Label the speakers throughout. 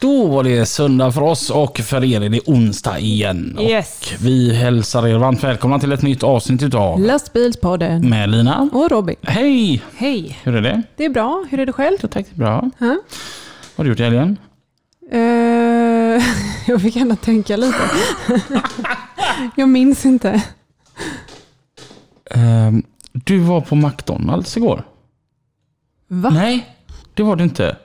Speaker 1: Då var det söndag för oss och för er är det onsdag igen.
Speaker 2: Yes.
Speaker 1: Och vi hälsar er varmt välkomna till ett nytt avsnitt utav
Speaker 2: Lastbilspodden.
Speaker 1: med Lina.
Speaker 2: Och Robin.
Speaker 1: Hej!
Speaker 2: Hej.
Speaker 1: Hur är det?
Speaker 2: Det är bra. Hur är det själv?
Speaker 1: Jo tack, det är bra.
Speaker 2: Ja.
Speaker 1: Vad har du gjort i helgen?
Speaker 2: Eh, jag fick gärna tänka lite. jag minns inte.
Speaker 1: Ehm, du var på McDonalds igår.
Speaker 2: Va?
Speaker 1: Nej, det var du inte.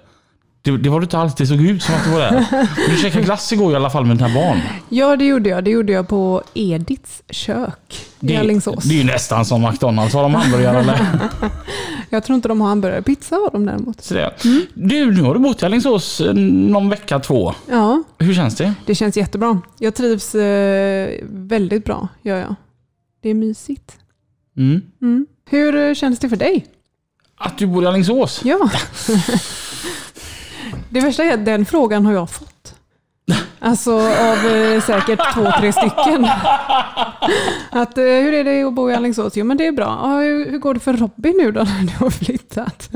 Speaker 1: Det, det var du inte alls. Det såg ut som att du var där. Och Du käkade glass igår i alla fall med dina barn.
Speaker 2: Ja, det gjorde jag. Det gjorde jag på Edits kök i Alingsås.
Speaker 1: det är ju nästan som McDonalds. Har de hamburgare eller?
Speaker 2: Jag tror inte de har hamburgare. Pizza har de däremot.
Speaker 1: Så det. Du, nu har du bott i Alingsås eh, någon vecka, två.
Speaker 2: Ja,
Speaker 1: Hur känns det?
Speaker 2: det känns jättebra. Jag trivs eh, väldigt bra, gör jag. Det är mysigt.
Speaker 1: Mm.
Speaker 2: Mm. Hur eh, känns det för dig?
Speaker 1: Att du bor i Alingsås?
Speaker 2: Ja. Det värsta är att den frågan har jag fått. Alltså av eh, säkert två, tre stycken. Att, eh, hur är det att bo i Alingsås? Jo men det är bra. Ja, hur, hur går det för Robin nu då när du har flyttat?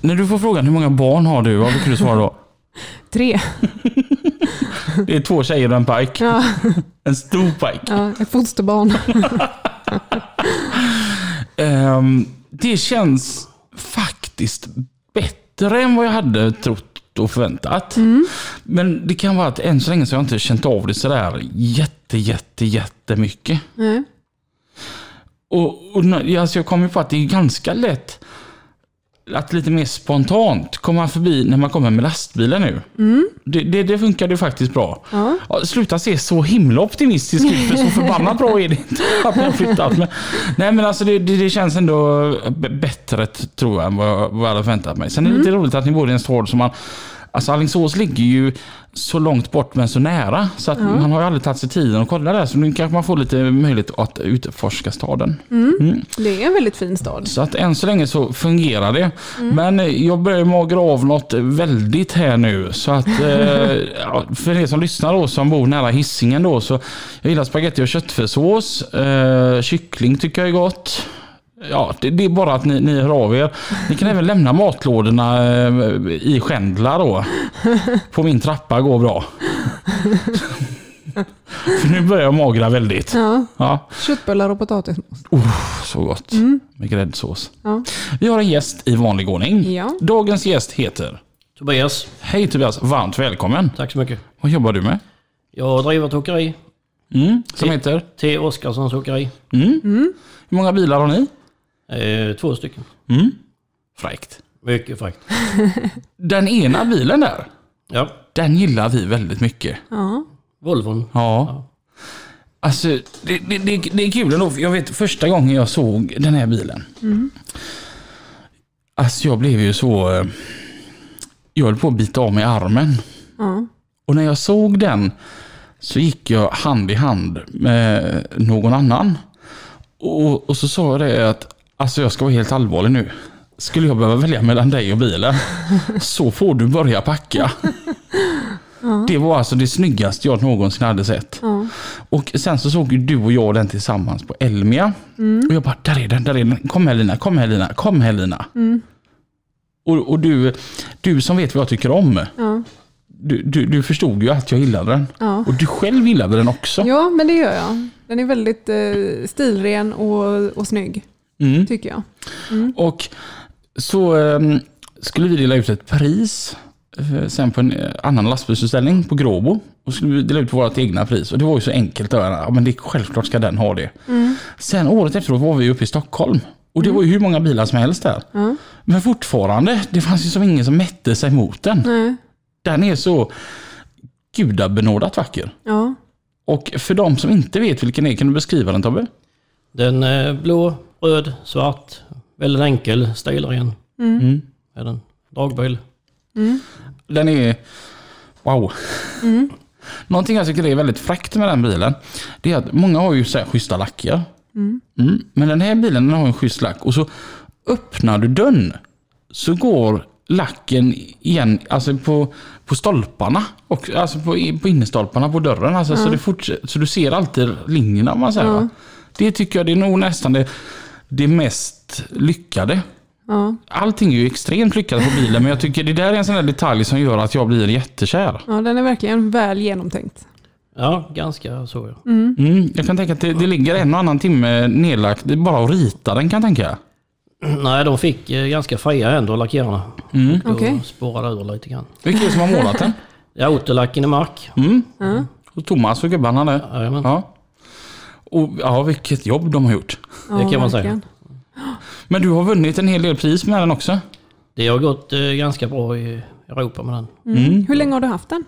Speaker 1: När du får frågan hur många barn har du, vad brukar du svara då?
Speaker 2: Tre.
Speaker 1: Det är två tjejer och en pike.
Speaker 2: Ja,
Speaker 1: En stor pike.
Speaker 2: ja, ett fosterbarn.
Speaker 1: Ehm, det känns faktiskt bättre än vad jag hade trott och förväntat. Men det kan vara att än så länge så har jag inte känt av det sådär jätte, jätte, jättemycket.
Speaker 2: Nej.
Speaker 1: Och, och när- alltså jag kom ju på att det är ganska lätt att lite mer spontant komma förbi när man kommer med lastbilen nu. Det, det, det funkade ju faktiskt bra.
Speaker 2: Ja.
Speaker 1: Ja, sluta se så himla optimistisk ut, för så förbannat bra är det inte att man har flyttat. Men, nej men alltså det, det, det känns ändå b- bättre t- tror jag än vad, jag- vad jag hade förväntat mig. Sen är det lite roligt att ni bor i en stad som man Alltså Alingsås ligger ju så långt bort men så nära så att man har ju aldrig tagit sig tiden att kolla där så nu kanske man får lite möjlighet att utforska staden.
Speaker 2: Det är en väldigt fin stad.
Speaker 1: Så att än så länge så fungerar det. Men eh, jag börjar magra av något väldigt här nu. Så att eh, ja, för er som lyssnar då som bor nära hissingen då så jag gillar spaghetti och köttfärssås. Eh, kyckling tycker jag är gott. Ja, det, det är bara att ni, ni hör av er. Ni kan även lämna matlådorna eh, i skändlar då. På min trappa går bra. För nu börjar jag magra väldigt.
Speaker 2: Ja.
Speaker 1: Ja.
Speaker 2: Köttbullar och potatismos.
Speaker 1: Så gott. Med gräddsås.
Speaker 2: Mm. Ja.
Speaker 1: Vi har en gäst i vanlig ordning.
Speaker 2: Ja.
Speaker 1: Dagens gäst heter...
Speaker 3: Tobias,
Speaker 1: Hej Tobias, varmt välkommen.
Speaker 3: tack så mycket.
Speaker 1: Vad jobbar du med?
Speaker 3: Jag driver ett åkeri,
Speaker 1: Mm, som heter?
Speaker 3: T. Oskarssons åkeri.
Speaker 1: Hur många bilar har ni?
Speaker 3: Eh, två stycken.
Speaker 1: Fräckt.
Speaker 3: Mycket fräckt.
Speaker 1: Den ena bilen där,
Speaker 3: Ja,
Speaker 1: den gillar vi väldigt mycket.
Speaker 2: Ja.
Speaker 3: Volvon.
Speaker 1: Ja. Alltså, det, det, det, det är kul ändå. för Jag vet första gången jag såg den här bilen. Alltså jag blev ju så... eh, Jag höll på att bita av mig armen.
Speaker 2: Ja.
Speaker 1: Och när jag såg den så gick jag hand i hand med någon annan. Och, och så sa jag det att, alltså jag ska vara helt allvarlig nu. Skulle jag behöva välja mellan dig och bilen så får du börja packa. Det var alltså det snyggaste jag någonsin hade sett.
Speaker 2: Ja.
Speaker 1: Och sen så såg ju du och jag den tillsammans på Elmia.
Speaker 2: Mm.
Speaker 1: Och jag bara, där är den, där är den. Kom här Lina, kom här Lina, kom här Lina.
Speaker 2: Mm.
Speaker 1: Och, och du, du som vet vad jag tycker om
Speaker 2: Ja.
Speaker 1: du, du, du förstod ju att jag gillade den.
Speaker 2: Ja.
Speaker 1: Och du själv gillade den också.
Speaker 2: ja, men det gör jag. Den är väldigt eh, stilren och, och snygg,
Speaker 1: Mm.
Speaker 2: tycker jag.
Speaker 1: Och så ehm, skulle vi dela ut ett pris eh, sen på en eh, annan lastbilsutställning på Gråbo. Och skulle vi dela ut vårt egna pris. Och det var ju så enkelt. Där. Ja, men det, är- självklart ska den ha det. Sen året efteråt var vi uppe i Stockholm. Och det var ju hur många bilar som helst där. Men fortfarande, det fanns ju som ingen som mätte sig mot den.
Speaker 2: Nej.
Speaker 1: Den är så gudabenådat vacker.
Speaker 2: Ja.
Speaker 1: Och för de som inte vet vilken det är, kan du beskriva den Tobbe?
Speaker 3: Den eh, blå Röd, svart, väldigt enkel, stilren
Speaker 2: Mm.
Speaker 1: Mm.
Speaker 3: är den. Dragbil.
Speaker 2: Mm.
Speaker 1: Den är... Wow.
Speaker 2: Mm.
Speaker 1: Någonting jag tycker är väldigt fräckt med den bilen, det är att många har ju så här schyssta lackar.
Speaker 2: Mm.
Speaker 1: Mm. Men den här bilen den har en schysst lack och så öppnar du dörren så går lacken igen alltså på, på stolparna. Och, alltså på, på innerstolparna på dörren. Alltså,
Speaker 2: Mm.
Speaker 1: så, det fortsätter, så du ser alltid linjerna om man säger. Va? Det tycker jag det är nog nästan det, det mest lyckade.
Speaker 2: Ja.
Speaker 1: Allting är ju extremt lyckat på bilen men jag tycker det där är en sån där detalj som gör att jag blir jättekär.
Speaker 2: ja, den är verkligen väl genomtänkt.
Speaker 3: Ja, ganska så ja.
Speaker 1: Mm, jag kan tänka att det, det ligger en och annan timme nedlagt. Det är bara att rita den kan jag tänka.
Speaker 3: Nej, de fick eh, ganska fria händer lackerarna.
Speaker 1: Mm.
Speaker 3: Då
Speaker 2: Okej.
Speaker 3: spårade det ur lite grann.
Speaker 1: Vilka är det som har målat den?
Speaker 3: Ja, Autolacken i mark.
Speaker 1: Mm.
Speaker 2: Ja.
Speaker 1: Och Thomas och gubbarna där.
Speaker 3: Jajamän.
Speaker 1: Ja. Och, ja, vilket jobb de har gjort.
Speaker 2: Ja,
Speaker 3: Det kan man säga.
Speaker 2: verkligen.
Speaker 1: Men du har vunnit en hel del pris med den också.
Speaker 3: Det har gått eh, ganska bra i Europa med den.
Speaker 1: Mm.
Speaker 2: Hur länge har du haft den?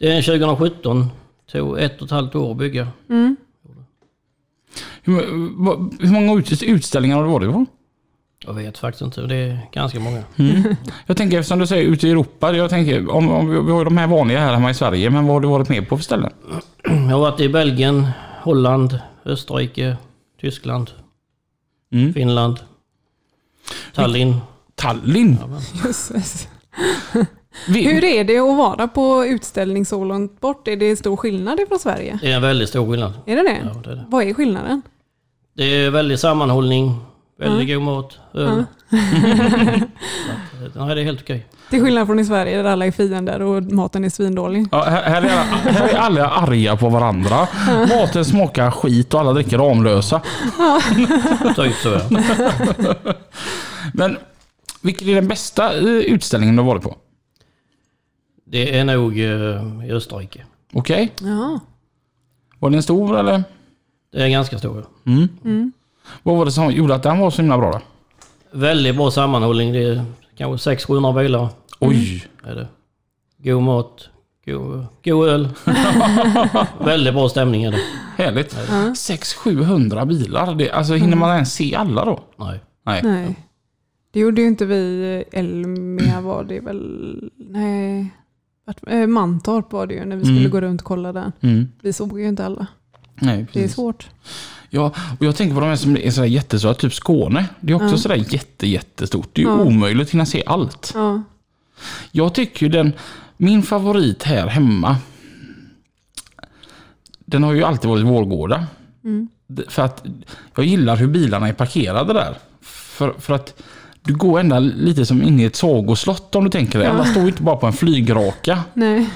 Speaker 3: Det är 2017. Tog ett och ett halvt år att bygga.
Speaker 2: Mm.
Speaker 1: Hur, vad- hur många ut- utställningar har du varit på?
Speaker 3: Jag vet faktiskt inte. Det är ganska många.
Speaker 1: Jag tänker eftersom du säger ute i Europa. Jag tänker, om, om, vi- vi har ju de här vanliga här hemma i Sverige. Men vad har du varit med på för ställen?
Speaker 3: Jag har varit i Belgien, Holland, Österrike, Tyskland,
Speaker 1: Mm.
Speaker 3: Finland, Tallinn.
Speaker 1: Tallinn.
Speaker 2: Jösses.
Speaker 1: Vi-
Speaker 2: Hur är det att vara på utställning så långt bort? Är det stor skillnad från Sverige?
Speaker 3: Det är en väldigt stor skillnad.
Speaker 2: Är det det?
Speaker 3: Ja, det, är det.
Speaker 2: Vad är skillnaden?
Speaker 3: det är väldigt sammanhållning, väldigt god mat, öl. Så att, eh, Nej, det är helt okej.
Speaker 2: Till skillnad från i Sverige där alla är fiender och maten är svindålig.
Speaker 1: Ja, här, här, är alla, här är alla arga på varandra. Maten smakar skit och alla dricker Ramlösa.
Speaker 3: Typ så ja.
Speaker 1: Men vilken är den bästa eh, utställningen du har varit på?
Speaker 3: Det är nog eh, i Österrike.
Speaker 1: Okej?
Speaker 2: Ja.
Speaker 1: Var den stor eller?
Speaker 3: Det är ganska stor. ja.
Speaker 1: Mm.
Speaker 2: Mm.
Speaker 1: Vad var det som gjorde att den var så himla bra då?
Speaker 3: Väldigt bra sammanhållning. Det är kanske 600-700 bilar.
Speaker 1: Oj!
Speaker 2: Mm.
Speaker 3: Är det. God mat, god, god öl. väldigt bra stämning är det.
Speaker 1: Härligt.
Speaker 2: Ja.
Speaker 1: 600-700 bilar. Det, alltså, hinner man ens se alla då?
Speaker 3: Nej.
Speaker 1: Nej.
Speaker 2: Nej. Det gjorde ju inte vi i Elmia var det väl. Nej. Vart- eh, Mantorp var det ju när vi skulle
Speaker 1: Mm.
Speaker 2: gå runt och kolla där.
Speaker 1: Mm.
Speaker 2: Vi såg ju inte alla.
Speaker 1: Nej,
Speaker 2: Det är
Speaker 1: precis.
Speaker 2: svårt.
Speaker 1: Ja, och jag tänker på de här som är sådär jättestora, typ Skåne. Det är också
Speaker 2: Ja.
Speaker 1: sådär jätte, jättestort. Det är ju
Speaker 2: Ja.
Speaker 1: omöjligt att hinna se allt.
Speaker 2: Ja.
Speaker 1: Jag tycker ju den, min favorit här hemma, den har ju alltid varit Vårgårda.
Speaker 2: Mm.
Speaker 1: D- För att jag gillar hur bilarna är parkerade där. För, för att du går ända lite som in i ett sagoslott om du tänker dig. Alla står ju inte bara på en flygraka.
Speaker 2: Nej.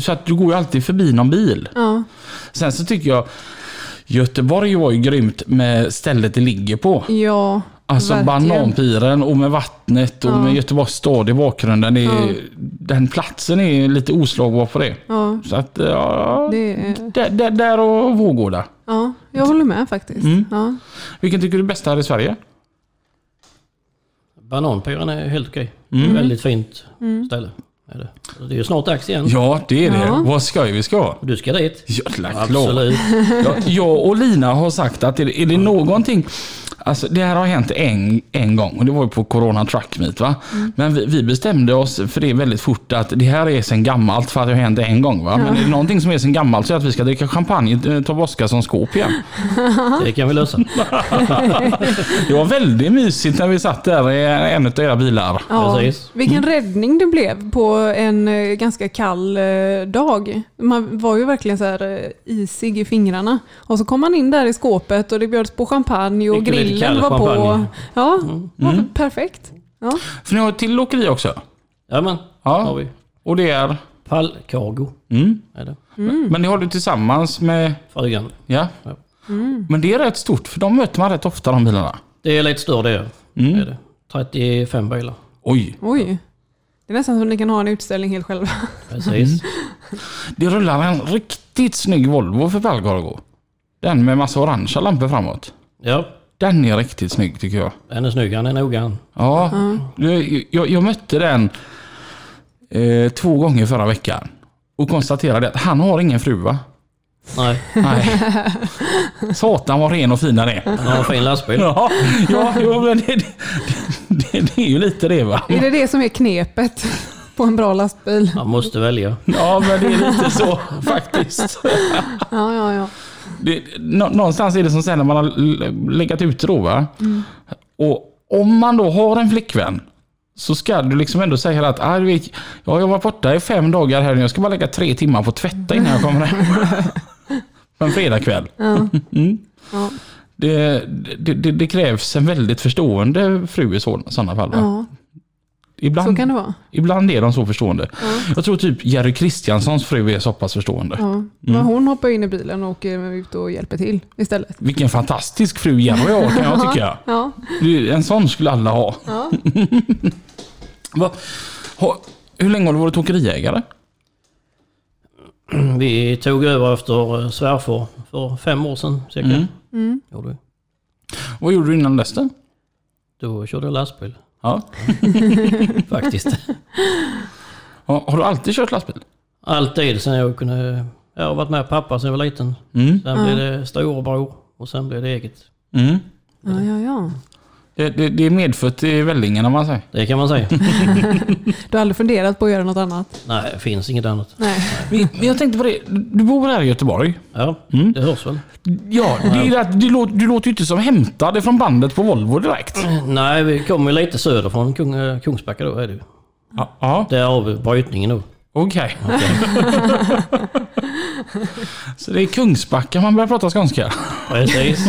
Speaker 1: Så att du går ju alltid förbi någon bil.
Speaker 2: Ja.
Speaker 1: Sen så tycker jag Göteborg var ju grymt med stället det ligger på.
Speaker 2: Ja.
Speaker 1: Alltså
Speaker 2: Verkligen.
Speaker 1: bananpiren och med vattnet och
Speaker 2: Ja.
Speaker 1: med Göteborgs stad i bakgrunden. Det är,
Speaker 2: Ja.
Speaker 1: Den platsen är lite oslagbar på det.
Speaker 2: Ja.
Speaker 1: Så att, ja,
Speaker 2: Det är,
Speaker 1: där, där, där och Vårgårda.
Speaker 2: ja. Jag håller med faktiskt.
Speaker 1: Mm.
Speaker 2: Ja.
Speaker 1: Vilken tycker du är bäst här i Sverige?
Speaker 3: Bananpyren är helt okej.
Speaker 1: Mm.
Speaker 3: Väldigt fint
Speaker 2: Mm.
Speaker 3: ställe. Är det. Så det är ju snart dags igen.
Speaker 1: Ja, det är det.
Speaker 2: Ja.
Speaker 1: Vad skoj vi ska ha.
Speaker 3: Du ska dit.
Speaker 1: Ja, det är klart.
Speaker 3: Absolut.
Speaker 1: Ja, jag och Lina har sagt att är det, är det någonting... Alltså det här har hänt en, en gång och det var ju på Corona Truck Meet va. Men vi, vi bestämde oss för det väldigt fort att det här är sen gammalt för att det har hänt en gång va. Men är det någonting som är sen gammalt så är det att vi ska dricka champagne i eh, Tom Oscarssons skåp igen.
Speaker 3: Det kan vi lösa.
Speaker 1: Det var väldigt mysigt när vi satt där i en av era bilar.
Speaker 2: Ja,
Speaker 3: Precis.
Speaker 2: vilken räddning det blev på en eh, ganska kall eh, dag. Man var ju verkligen så här eh, isig i fingrarna. Och så kom man in där i skåpet och det bjöds på champagne och
Speaker 3: Fick lite
Speaker 2: grillen
Speaker 3: kall
Speaker 2: var på.
Speaker 3: champagne.
Speaker 2: Ja, var perfekt. Ja.
Speaker 1: För ni har ett till åkeri också.
Speaker 3: Jajamän. Har
Speaker 1: Ja.
Speaker 3: vi.
Speaker 1: Och det är?
Speaker 3: Pallkargo
Speaker 1: Mm.
Speaker 3: är det.
Speaker 1: Men det har du tillsammans med...
Speaker 3: Frugan.
Speaker 1: Ja.
Speaker 3: Ja.
Speaker 1: Men det är rätt stort för de möter man rätt ofta de bilarna.
Speaker 3: Det är lite större det.
Speaker 1: Mm.
Speaker 3: Är det. 35 bilar.
Speaker 1: Oj,
Speaker 2: Oj. Det är nästan som att ni kan ha en utställning helt själva.
Speaker 3: Precis.
Speaker 1: Mm. det rullar en riktigt snygg Volvo för Palgargo. Den med massa orangea lampor framåt.
Speaker 3: Ja,
Speaker 1: Den är riktigt snygg tycker jag.
Speaker 3: den är snygg. Han är noggrann.
Speaker 1: Ja, jag, jag, jag mötte den eh, två gånger förra veckan och konstaterade att han har ingen fru va?
Speaker 3: Nej,
Speaker 1: Nej. Satan vad ren och fin den är.
Speaker 3: han har en fin lastbil.
Speaker 1: Ja, ja jo, men det, det, det, det är ju lite det va.
Speaker 2: Är det det som är knepet på en bra lastbil?
Speaker 3: Han måste välja.
Speaker 1: Ja, men det är lite så faktiskt.
Speaker 2: Ja, ja, ja.
Speaker 1: Det, nå- någonstans är det som sen när man har l- legat ute då. Va?
Speaker 2: Mm.
Speaker 1: Och om man då har en flickvän så ska du liksom ändå säga att ah, du vet, ja, jag var borta i fem dagar här nu. Jag ska bara lägga tre timmar på att tvätta innan jag kommer hem. På en fredagkväll. Mm.
Speaker 2: Ja.
Speaker 1: Det, det, det, det krävs en väldigt förstående fru i så- sådana fall. Va?
Speaker 2: ja. Så
Speaker 1: Ibland,
Speaker 2: kan det vara.
Speaker 1: ibland är de så förstående. Jag tror typ Jerry Kristianssons fru är så pass förstående.
Speaker 2: Ja. Men hon hoppar in i bilen och åker ut och hjälper till istället.
Speaker 1: Vilken fantastisk fru Jenny och jag kan jag tycka.
Speaker 2: Ja,
Speaker 1: Du, En sån skulle alla ha.
Speaker 2: ja.
Speaker 1: Va? Ha, hur länge har du varit åkeriägare?
Speaker 3: Vi tog över efter eh, svärfar för fem år sedan cirka.
Speaker 1: Mm.
Speaker 2: Mm.
Speaker 3: Gjorde vi.
Speaker 1: Vad gjorde du innan dess då?
Speaker 3: Då körde jag lastbil
Speaker 1: Ja.
Speaker 3: faktiskt.
Speaker 1: Ha, har du alltid kört lastbil?
Speaker 3: Alltid sen jag kunde... Jag har varit med pappa sen jag var liten.
Speaker 1: Mm.
Speaker 3: Sen blev det storebror och sen blev det eget.
Speaker 1: Mm.
Speaker 2: ja, ja, ja.
Speaker 1: Det, det, det är medfött i vällingen om man säger.
Speaker 3: Det kan man säga.
Speaker 2: Du har aldrig funderat på att göra något annat?
Speaker 3: Nej, det finns inget annat.
Speaker 2: Nej.
Speaker 1: Men men jag tänkte på det, du bor här i Göteborg.
Speaker 3: Ja,
Speaker 1: Mm.
Speaker 3: det hörs väl.
Speaker 1: Ja, det är att du, låter, du låter ju inte som hämtad från bandet på Volvo direkt.
Speaker 3: Nej, vi kommer ju lite söderifrån Kung, eh, Kungsbacka då är det ju.
Speaker 1: Ja, ja
Speaker 3: Där har vi brytningen då.
Speaker 1: okej. Så det är Kungsbacka man börjar prata skånska.
Speaker 3: Precis.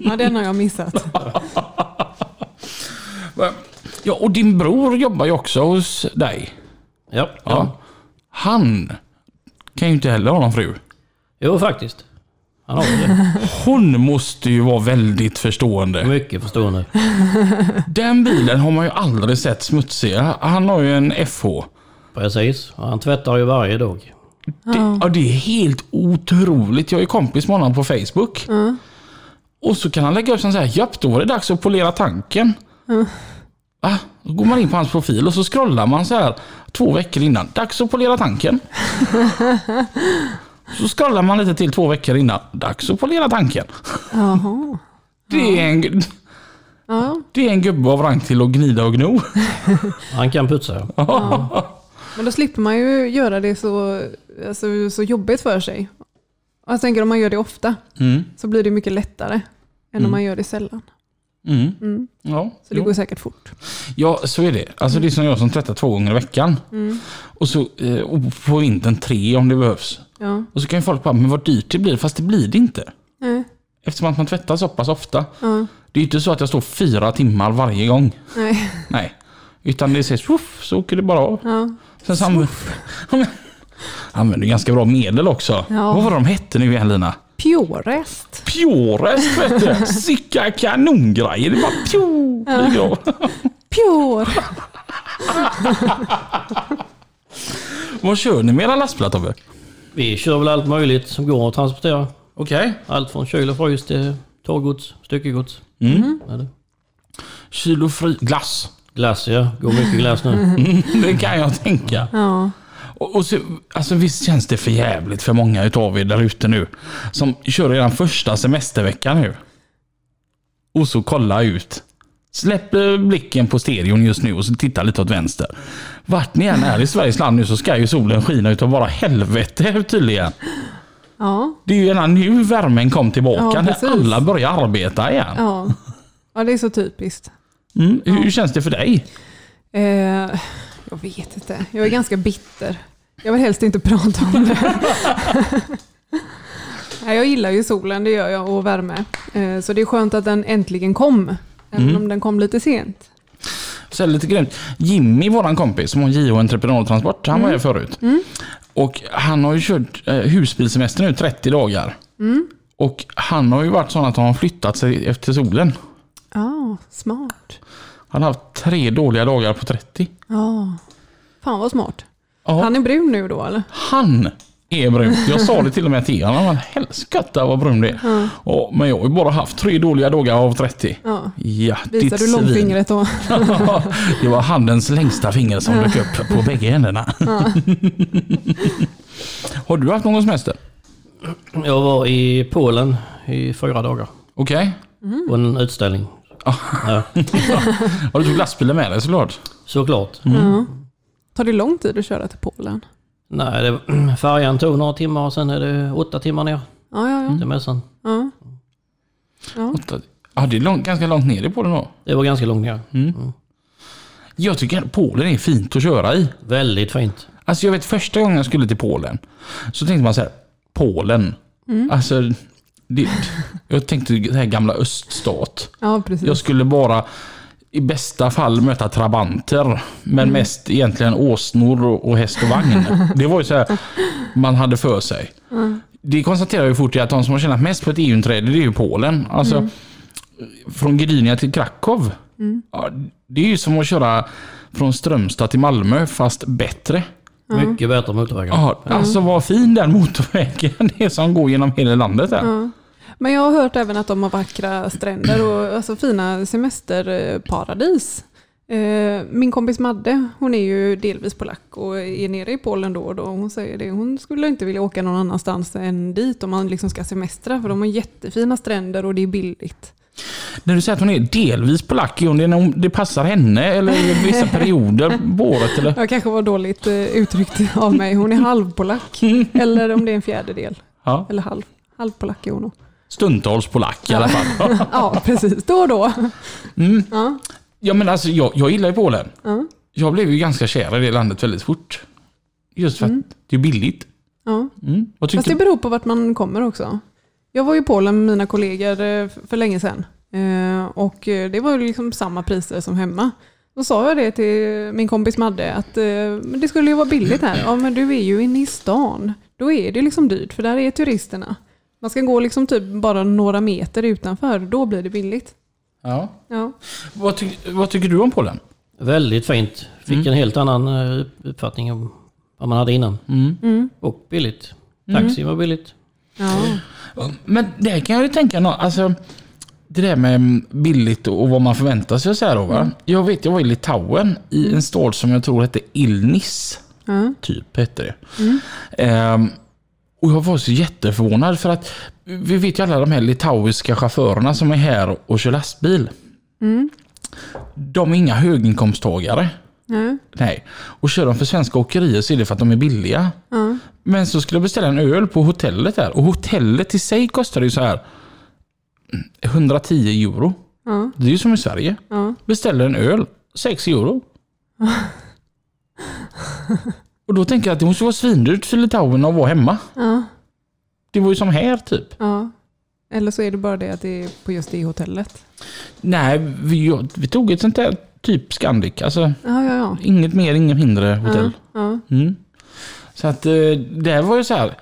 Speaker 2: Ja, den har jag missat.
Speaker 1: Ja, och din bror jobbar ju också hos dig.
Speaker 3: Ja.
Speaker 1: Ja.
Speaker 3: ja.
Speaker 1: Han kan ju inte heller ha någon fru.
Speaker 3: Jo, faktiskt. Han har det.
Speaker 1: Hon måste ju vara väldigt förstående.
Speaker 3: Mycket förstående.
Speaker 1: Den bilen har man ju aldrig sett smutsigare. Han har ju en FH.
Speaker 3: Precis. Och Han tvättar ju varje dag.
Speaker 1: Det, ja, det är helt otroligt. Jag är kompis med honom på Facebook. Och så kan han lägga upp sån så här, japp då var det dags att polera tanken. Va? Då går man in på hans profil och så scrollar man så här två veckor innan. Dags att polera tanken. så scrollar man lite till två veckor innan. Dags att polera tanken.
Speaker 2: Jaha.
Speaker 1: Det är en,
Speaker 2: Ja.
Speaker 1: det är en gubbe av rang till att gnida och gno.
Speaker 3: Han kan putsa.
Speaker 2: Men då slipper man ju göra det så, alltså, så jobbigt för sig. Och jag tänker om man gör det ofta
Speaker 1: Mm.
Speaker 2: så blir det mycket lättare än om man gör det sällan.
Speaker 1: Mm. Ja,
Speaker 2: Så det
Speaker 1: jo.
Speaker 2: går säkert fort.
Speaker 1: ja, så är det. Alltså Det är som jag som tvättar två gånger i veckan.
Speaker 2: Mm.
Speaker 1: Och så eh, och på vintern tre om det behövs.
Speaker 2: Ja.
Speaker 1: Och så kan ju folk bara, men vad dyrt det blir. Fast det blir det inte.
Speaker 2: Nej.
Speaker 1: Eftersom att man tvättar så pass ofta.
Speaker 2: Ja.
Speaker 1: Det är ju inte så att jag står fyra timmar varje gång.
Speaker 2: Nej.
Speaker 1: Nej. Utan det ses, woof, så åker det bara av.
Speaker 2: Ja.
Speaker 1: Sen så använder, Ja, men- använder ganska bra medel också.
Speaker 2: Ja.
Speaker 1: Vad var de hette nu igen Lina?
Speaker 2: Purest.
Speaker 1: Pjorest vet du. Sicka kanongrejer. Det bara pjo. flyger av.
Speaker 2: Pure.
Speaker 1: Vad kör ni med era lastbilar Tobbe?
Speaker 3: Vi kör väl allt möjligt som går att transportera.
Speaker 1: Okej.
Speaker 3: Allt från kyl och frys till torrgods, styckegods.
Speaker 1: Mm.
Speaker 3: Ja, det-
Speaker 1: Kilo fri glass.
Speaker 3: Glass ja, går mycket glass nu.
Speaker 1: Det kan jag tänka.
Speaker 2: Ja.
Speaker 1: Och, och så, alltså visst känns det för jävligt för många utav er där ute nu. Som kör er första semestervecka nu. Och så kolla ut. Släpp eh, blicken på stereon just nu och så titta lite åt vänster. Vart ni än är i Sveriges land nu så ska ju solen skina utav bara helvete tydligen.
Speaker 2: Ja.
Speaker 1: Det är ju redan nu värmen kom tillbaka
Speaker 2: Ja, precis.
Speaker 1: när alla börjar arbeta igen.
Speaker 2: Ja. ja, det är så typiskt.
Speaker 1: Mm. Hur hur känns det för dig?
Speaker 2: Eh, jag vet inte. Jag är ganska bitter. Jag vill helst inte prata om det. Nej, jag gillar ju solen, det gör jag, och värme. Eh, så det är skönt att den äntligen kom. Även
Speaker 1: Mm.
Speaker 2: om den kom lite sent.
Speaker 1: Så är det lite grymt. Jimmy, våran kompis, som har JO Entreprenadtransport, han var
Speaker 2: Mm.
Speaker 1: här förut. Och han har ju kört eh, husbilsemester nu 30 dagar.
Speaker 2: Mm.
Speaker 1: Och han har ju varit sån att han har flyttat sig efter solen.
Speaker 2: Ja, smart.
Speaker 1: Han har haft tre dåliga dagar på 30.
Speaker 2: Ja, fan vad smart.
Speaker 1: Ja.
Speaker 2: Han är brun nu då eller?
Speaker 1: Han är brun. Jag sa det till och med till honom. Han bara, Helskotta vad brun det är. Ja, men jag har ju bara haft tre dåliga dagar av 30.
Speaker 2: Ja.
Speaker 1: Ja,
Speaker 2: Visar
Speaker 1: ditt
Speaker 2: du
Speaker 1: svin.
Speaker 2: långfingret då?
Speaker 1: det var handens längsta finger som dök upp på bägge händerna. Har du haft någon semester?
Speaker 3: Jag var i Polen i fyra dagar
Speaker 1: Okej.
Speaker 3: på en utställning. Ja,
Speaker 1: Har du tog lastbilen med dig såklart?
Speaker 3: såklart.
Speaker 2: Ja. Tar det lång tid att köra till Polen?
Speaker 3: Nej, det, färjan tog några timmar och sen är det åtta timmar ner
Speaker 2: Ja, ja,
Speaker 1: Mm.
Speaker 2: ja.
Speaker 3: till mässan.
Speaker 2: ja.
Speaker 1: Åtta- Ja, det är långt, ganska långt ner i Polen då.
Speaker 3: Det var ganska långt ner.
Speaker 1: Jag tycker att Polen är fint att köra i.
Speaker 3: Väldigt fint.
Speaker 1: Alltså jag vet första gången jag skulle till Polen så tänkte man så här, Polen. Alltså, det, jag tänkte det här gamla öststat.
Speaker 2: ja precis.
Speaker 1: Jag skulle bara i bästa fall möta trabanter. Men mest egentligen åsnor och och häst och vagn. Det var ju så här man hade för sig. Det konstaterar ju fort att de som har tjänat mest på ett EU-inträde det är ju Polen. Alltså, Från Gdynia till Krakow. Ja, det är ju som att köra från Strömstad till Malmö fast bättre.
Speaker 3: Mycket bättre motorvägar.
Speaker 1: Ja, Alltså vad fin den motorvägen är som går genom hela landet där.
Speaker 2: Men jag har hört även att de har vackra stränder och alltså fina semesterparadis. Eh, Min kompis Madde, hon är ju delvis polack och är nere i Polen då och då. Hon säger det, hon skulle inte vilja åka någon annanstans än dit om man liksom ska semestra för de har jättefina stränder och det är billigt.
Speaker 1: När du säger att hon är delvis polack, är hon det när hon- det passar henne eller är det vissa perioder på året? Eller?
Speaker 2: Jag kanske var dåligt eh, uttryckt av mig, hon är halvpolack. Eller om det är en fjärdedel,
Speaker 1: Ja.
Speaker 2: eller halv. Halvpolack är hon nog.
Speaker 1: Stundtals polack i alla fall. Mm.
Speaker 2: Ja, precis. Då och då. Ja,
Speaker 1: Ja, men alltså, jag, jag gillar ju Polen.
Speaker 2: ja,
Speaker 1: Jag blev ju ganska kär i det landet väldigt fort. Just för att det är billigt.
Speaker 2: ja.
Speaker 1: Mm. Vad
Speaker 2: Mm. Fast
Speaker 1: tyckte
Speaker 2: det beror på vart man kommer också. Jag var ju i Polen med mina kollegor eh, f- för länge sedan. Eh, Och eh, det var ju liksom samma priser som hemma. Då sa jag det till min kompis Madde att eh, men det skulle ju vara billigt här. Ja men du är ju inne i stan. Då är det liksom dyrt för där är turisterna. Man ska gå liksom typ bara några meter utanför. Då blir det billigt.
Speaker 1: ja.
Speaker 2: Ja.
Speaker 1: vad, tyck, vad tycker du om Polen?
Speaker 3: Väldigt fint. Fick en helt annan eh, uppfattning om vad man hade innan. Och billigt. Taxi var billigt.
Speaker 2: Ja.
Speaker 1: Men det kan jag ju tänka nå, alltså det där med billigt och vad man förväntar sig och så här då, va? Jag vet, jag var i Litauen i en stad som jag tror hette Ilnis.
Speaker 2: Ja.
Speaker 1: Typ hette det. Ehm, och jag var så jätteförvånad för att vi vet ju alla de här litauiska chaufförerna som är här och kör lastbil. De är inga höginkomsttagare.
Speaker 2: Ja.
Speaker 1: Nej. Och kör de för svenska åkerier så är det för att de är billiga.
Speaker 2: Ja.
Speaker 1: Men så skulle jag beställa en öl på hotellet där. Och hotellet i sig kostar ju så här 110 euro.
Speaker 2: Ja.
Speaker 1: Det är ju som i Sverige.
Speaker 2: Ja.
Speaker 1: Beställer en öl, 6 euro. och då tänker jag att det måste vara svindyrt för Litauen att vara hemma.
Speaker 2: Ja.
Speaker 1: Det var ju som här typ.
Speaker 2: ja. Eller så är det bara det att det är på just det hotellet.
Speaker 1: Nej, vi, vi tog ett sånt där typ Scandic. Alltså
Speaker 2: Ja, ja, ja.
Speaker 1: inget mer, inget mindre hotell.
Speaker 2: ja.
Speaker 1: Mm. Så att eh, det här var ju så här.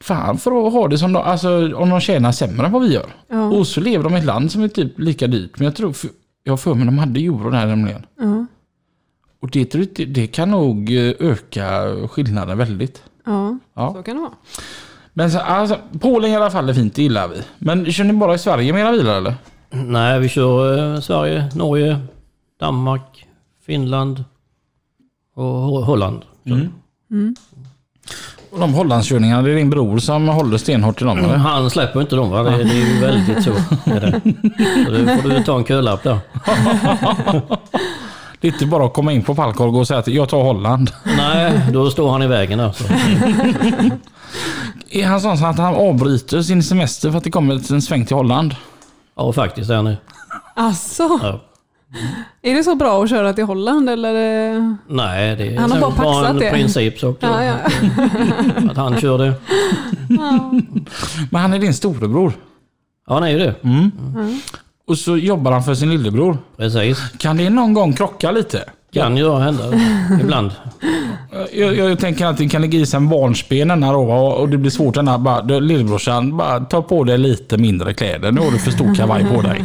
Speaker 1: Fan för att ha det som de, alltså om de tjänar sämre än vad vi gör.
Speaker 2: Ja.
Speaker 1: Och så lever de i ett land som är typ lika dyrt. Men jag tror, för, jag har för mig de hade euro där nämligen.
Speaker 2: ja.
Speaker 1: Och det, tror jag inte- det kan nog eh, öka skillnaden väldigt.
Speaker 2: Ja,
Speaker 1: Ja.
Speaker 2: så kan det vara.
Speaker 1: Men så, alltså, Polen i alla fall är fint, det gillar vi. Men kör ni bara i Sverige med era bilar eller?
Speaker 3: Nej, vi kör eh, Sverige, Norge, Danmark, Finland och Ho- Holland. Så.
Speaker 1: Och de Hollandskörningarna, det är din bror som håller stenhårt i dem eller?
Speaker 3: Han släpper inte dem va? Det, det är ju väldigt så. Är det. Så då får du ta en kölapp där.
Speaker 1: Det är inte bara att komma in på Palkorg och säga att jag tar Holland.
Speaker 3: Nej, då står han i vägen där. Så.
Speaker 1: Är han sån så att han avbryter sin semester för att det kommer en sväng till Holland?
Speaker 3: Ja, faktiskt det är han nu.
Speaker 2: Alltså,
Speaker 3: Ja.
Speaker 2: är det så bra att köra till Holland eller? eh?
Speaker 3: Nej, det är
Speaker 2: Han har bara paxat
Speaker 3: en
Speaker 2: det.
Speaker 3: principsak. då.
Speaker 2: Ja, ja.
Speaker 3: Att han körde.
Speaker 1: Men han är din storebror.
Speaker 3: Ja, han är ju det.
Speaker 1: Och så jobbar han för sin lillebror.
Speaker 3: Precis.
Speaker 1: Kan det någon gång krocka lite?
Speaker 3: Kan ju hända ibland.
Speaker 1: Jag, jag tänker att det kan ligga i sig en barnsben här då va? och det blir svårt den här bara, du, lillebrorsan, bara ta på dig lite mindre kläder. Nu har du för stor kavaj på dig.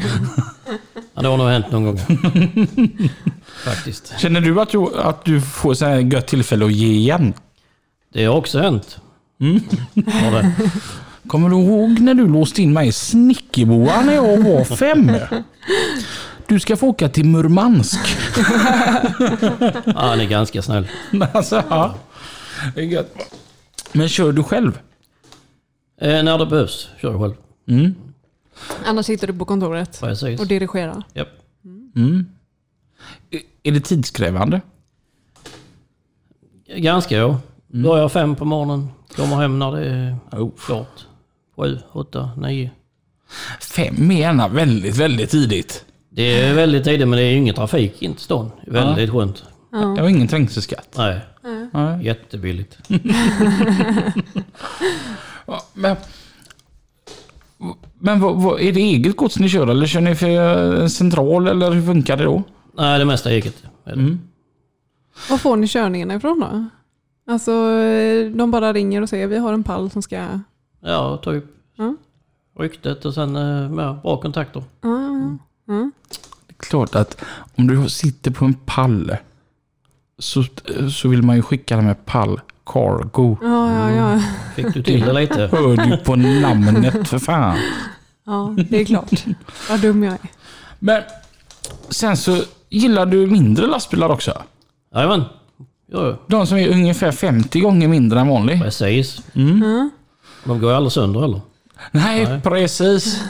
Speaker 3: Ja, det har nog hänt någon gång. Faktiskt.
Speaker 1: Känner du att du, att du får så här gött tillfälle att ge igen?
Speaker 3: Det har också hänt. Mm. Ja, det.
Speaker 1: Kommer du ihåg när du låste in mig i snickerboa när jag var fem? Du ska få åka till Murmansk.
Speaker 3: Ja, han är ganska snäll.
Speaker 1: Alltså, ja. Det är gött. Men kör du själv?
Speaker 3: Eh, när det behövs kör jag själv.
Speaker 1: Mm.
Speaker 2: Annars sitter du på kontoret
Speaker 3: Precis.
Speaker 2: och dirigerar.
Speaker 3: Japp.
Speaker 1: Mm. Är- Är det tidskrävande?
Speaker 3: Ganska ja.
Speaker 1: Mm.
Speaker 3: Börjar fem på morgonen, kommer hem när det är klart. Sju, åtta, nio.
Speaker 1: Fem är gärna väldigt, väldigt tidigt.
Speaker 3: Det är väldigt tidigt men det är ju ingen trafik in till stan. Det är Väldigt skönt.
Speaker 1: Jag har ingen trängselskatt.
Speaker 3: Nej,
Speaker 1: Nej.
Speaker 3: jättebilligt.
Speaker 1: Ja, Men, men vad, vad, är det eget gods ni kör eller kör ni för en central eller hur funkar det då?
Speaker 3: Nej, det mesta är eget. är det.
Speaker 1: Mm.
Speaker 2: Var får ni körningarna ifrån då? Alltså, eh, de bara ringer och säger vi har en pall som ska... Ja,
Speaker 3: Ja, typ.
Speaker 2: Mm.
Speaker 3: Ryktet och sen eh, ja, bra kontakter.
Speaker 2: ja. Mm.
Speaker 1: Det är klart att om du sitter på en pall så, eh, så vill man ju skicka den med pall cargo.
Speaker 2: ja, ja, ja.
Speaker 3: Fick du till det lite?
Speaker 1: Hör du på namnet för fan.
Speaker 2: ja, det är klart. Vad dum jag är.
Speaker 1: Men sen så gillar du mindre lastbilar också.
Speaker 3: Jajamän, gör jag.
Speaker 1: De som är ungefär 50 gånger mindre än vanlig.
Speaker 3: Precis.
Speaker 1: Mm.
Speaker 3: De går ju aldrig sönder heller.
Speaker 1: Nej, precis.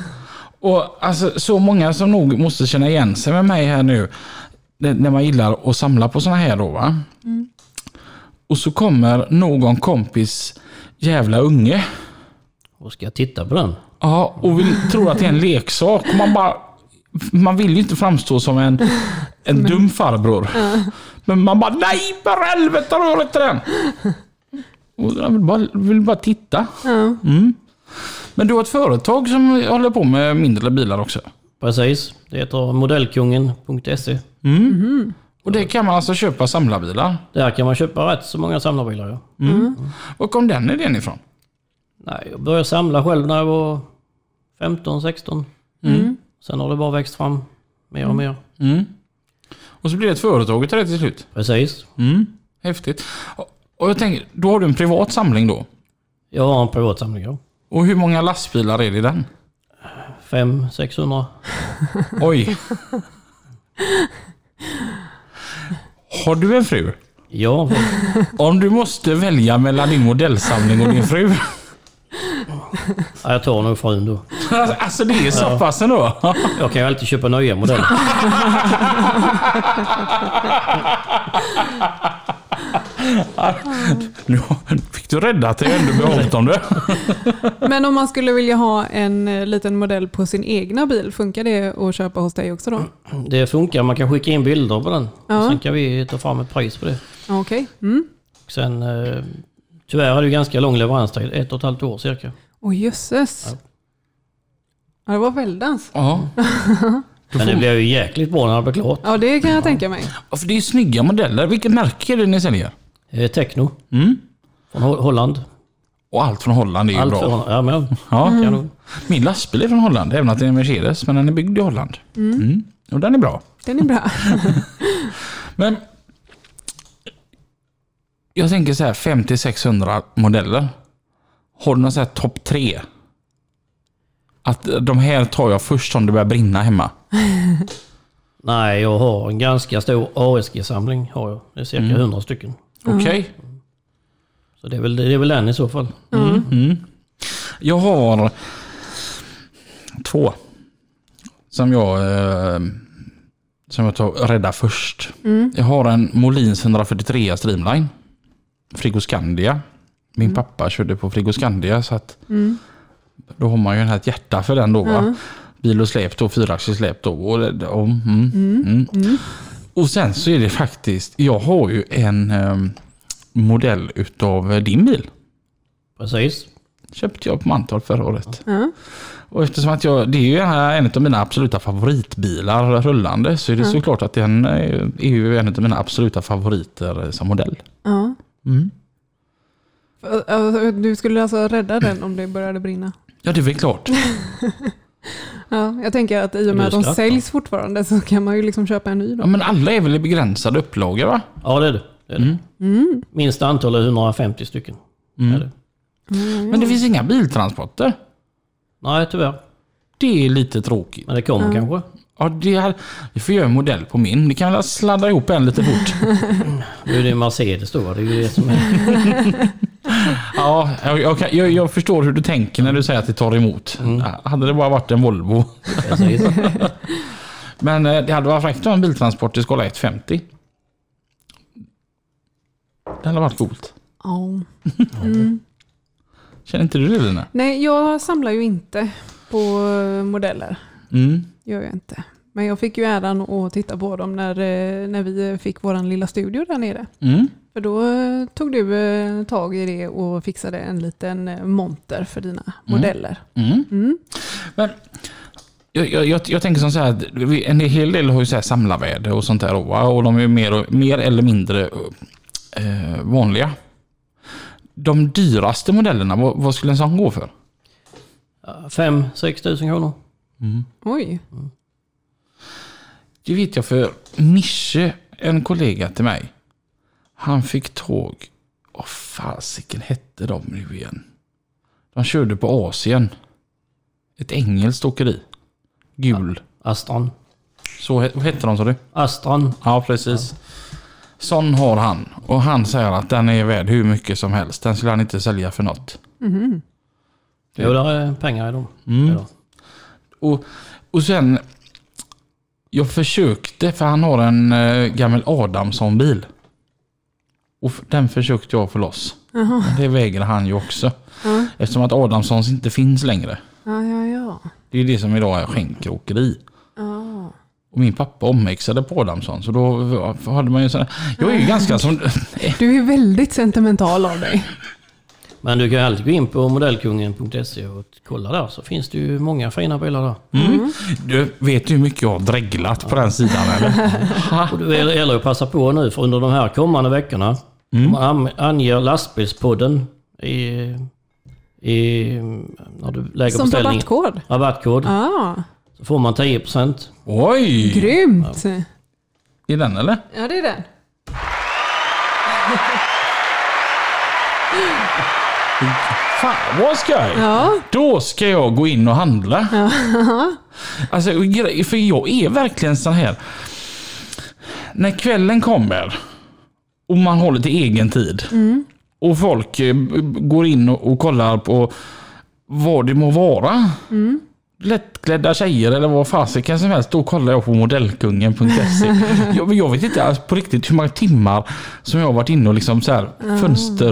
Speaker 1: Och alltså, så många som nog måste känna igen sig med mig här nu. n- När man gillar att samla på såna här då va. Och så kommer någon kompis jävla unge.
Speaker 3: Och ska jag titta på den?
Speaker 1: Ja, och vill, tror att det är en leksak. Och Man bara... Man vill ju inte framstå som en, en dum farbror. Men man bara nej för helvete rör inte den! Och jag vill bara, vill bara titta. Mm.
Speaker 2: Ja.
Speaker 1: Men du har ett företag som håller på med mindre bilar också.
Speaker 3: Precis. Det heter modellkungen.se.
Speaker 1: Och det kan man alltså köpa samlarbilar.
Speaker 3: Där kan man köpa rätt så många samlarbilar. Ja.
Speaker 1: Var kom den idén ifrån?
Speaker 3: Nej, jag började samla själv när jag var 15, 16.
Speaker 2: Mm.
Speaker 3: Sen har det bara växt fram mer och mer.
Speaker 1: Och så blir det ett företag till det till slut.
Speaker 3: Precis.
Speaker 1: Häftigt. Och- Och jag tänker, då har du en privat samling då.
Speaker 3: Jag har en privat samling. ja.
Speaker 1: Och hur många lastbilar är det i den?
Speaker 3: 500, 600.
Speaker 1: Oj. Har du en fru?
Speaker 3: Ja,
Speaker 1: Om du måste välja mellan din modellsamling och din fru.
Speaker 3: Ja, jag tar nog frun då.
Speaker 1: Alltså det är så pass ändå.
Speaker 3: Jag kan ju alltid köpa nya modeller.
Speaker 1: Nu fick du räddat dig ändå behållt om det.
Speaker 2: Men om man skulle vilja ha en eh, liten modell på sin egna bil, funkar det att köpa hos dig också då?
Speaker 3: Det funkar, man kan skicka in bilder på den.
Speaker 2: Ja.
Speaker 3: Sen kan vi ta fram ett pris på det.
Speaker 2: Ja, Okej. Mm.
Speaker 3: Sen, eh, tyvärr är det ju ganska lång leveranstid, ett och ett halvt år cirka.
Speaker 2: Åh jösses. Ja, det var väldans.
Speaker 1: Ja.
Speaker 3: Men det blev ju jäkligt bra när det blev klart.
Speaker 2: Ja, det kan jag tänka mig.
Speaker 1: Ja, För Alltså, det är ju snygga modeller. Vilket märke är det ni säljer?
Speaker 3: Eh, Techno
Speaker 1: Mm.
Speaker 3: från Ho- Holland.
Speaker 1: Och allt från Holland är ju
Speaker 3: Allt
Speaker 1: bra.
Speaker 3: från Mm. Holland. Ja, men,
Speaker 1: Ja.
Speaker 3: kan nog-
Speaker 1: Min lastbil är från Holland, även att det är en Mercedes, men den är byggd i Holland. Mm. Och den är bra.
Speaker 2: Den är bra.
Speaker 1: Men jag tänker så här 50-600 modeller. Har du någon så här topp tre? Att de här tar jag först om det börjar brinna hemma.
Speaker 3: Nej, jag har en ganska stor ASG-samling. Har jag. Det är cirka
Speaker 1: Mm.
Speaker 3: 100 stycken.
Speaker 1: Okej?
Speaker 3: Så det är, väl, det är väl den i så fall.
Speaker 1: Jag har två. Som jag, eh, som jag tar rädda först. Jag har en Molins 143 Streamline. Frigoscandia. Min pappa körde på Frigoscandia så att då har man ju den här ett hjärta för den då. Va? Bil och släp då, fyraxlig släp då. Och, det- och, mm, mm. och sen så är det faktiskt, jag har ju en eh, modell utav eh, din bil
Speaker 3: Precis.
Speaker 1: köpte jag på Mantorp förra året.
Speaker 2: Ja.
Speaker 1: Och eftersom att jag, det är ju en av mina absoluta favoritbilar rullande så är det såklart att den eh, är ju en av mina absoluta favoriter eh, som modell.
Speaker 2: Ja. För, alltså, Du skulle alltså rädda den om det började brinna?
Speaker 1: Ja, det är väl klart.
Speaker 2: Ja, jag tänker att i och med att de
Speaker 3: Lustigt.
Speaker 2: säljs fortfarande så kan man ju liksom köpa en ny
Speaker 1: Ja,
Speaker 2: då.
Speaker 1: men alla är väl i begränsade upplagor va?
Speaker 3: Ja, det är det. det, är det.
Speaker 1: Mm.
Speaker 3: Minsta antal är 150 stycken. Är det.
Speaker 1: Men det finns inga biltransporter.
Speaker 3: Nej, tyvärr.
Speaker 1: Det är lite tråkigt.
Speaker 3: Men det kommer kanske.
Speaker 1: Ja, det här, vi får göra en modell på min. Vi kan väl sladda ihop en lite fort.
Speaker 3: Nu är det ju Mercedes då, va? det är ju det som är...
Speaker 1: Ja, jag, jag, kan- jag, jag förstår hur du tänker när du säger att det tar emot. Hade det bara varit en Volvo.
Speaker 3: Precis.
Speaker 1: Men eh, det hade varit fräckt att ha en biltransport till skala 150. Det hade varit coolt.
Speaker 2: Ja.
Speaker 1: Känner inte du det Lina?
Speaker 2: Nej, jag samlar ju inte på eh, modeller.
Speaker 1: Mm.
Speaker 2: Gör jag inte. Men jag fick ju äran att titta på dem när, eh, när vi fick vår lilla studio där nere.
Speaker 1: Mm.
Speaker 2: För då eh, tog du eh, tag i det och fixade en liten eh, monter för dina modeller.
Speaker 1: Mm.
Speaker 2: Mm.
Speaker 1: Men jag, jag, jag, jag tänker som så här, att vi- en hel del har ju så här samlarvärde och sånt där. Och, va, och de är ju mer, och- mer eller mindre eh, vanliga. De dyraste modellerna, vad, vad skulle en sån gå för?
Speaker 3: 5-6 tusen kronor.
Speaker 2: Oj.
Speaker 1: Det vet jag för Mische, en kollega till mig. Han fick tåg. Åh fasiken hette de nu igen? De körde på Asien. Ett engelskt åkeri. Gul.
Speaker 3: Astron.
Speaker 1: Så he- vad hette de sa du?
Speaker 3: Astron.
Speaker 1: Ja precis. Sån har han. Och han säger att den är värd hur mycket som helst. Den skulle han inte sälja för något.
Speaker 3: Jo, där är pengar i dem.
Speaker 1: Mm.
Speaker 3: Ja.
Speaker 1: Och, och sen... Jag försökte, för han har en eh, gammal Adamsson-bil. Och f- den försökte jag få loss. Men Det vägrar han ju också.
Speaker 2: Ja.
Speaker 1: Eftersom att Adamssons inte finns längre.
Speaker 2: Ja, ja, ja.
Speaker 1: Det är ju det som idag är skänkeråkeri.
Speaker 2: ja.
Speaker 1: Och min pappa omväxlade på Adamsson, så då hade man ju sådana... Jag är ju ganska som...
Speaker 2: Du är väldigt sentimental av dig.
Speaker 3: Men du kan ju alltid gå in på modellkungen.se E och kolla där så finns det ju många fina bilar där.
Speaker 1: Du, vet du hur mycket jag har dreglat på den sidan eller?
Speaker 3: Och det gäller ju att passa på nu för under de här kommande veckorna. Om man an- anger lastbilspodden i, i, när du lägger
Speaker 2: Som
Speaker 3: beställningen.
Speaker 2: rabattkod.
Speaker 3: Rabattkod.
Speaker 2: Ja,
Speaker 3: Så får man 10%.
Speaker 1: Oj!
Speaker 2: grymt.
Speaker 1: I den eller?
Speaker 2: Ja, det är den.
Speaker 1: Fan vad skoj!
Speaker 2: Ja.
Speaker 1: Då ska jag gå in och handla. Alltså, gre- för jag är verkligen sån här. När kvällen kommer och man håller till egen tid och folk eh, b- b- går in och, och kollar på vad det må vara. Lättklädda tjejer eller vad fasiken som helst. Då kollar jag på modellkungen.se. jag, jag vet inte alls på riktigt hur många timmar som jag har varit inne och liksom så här fönster,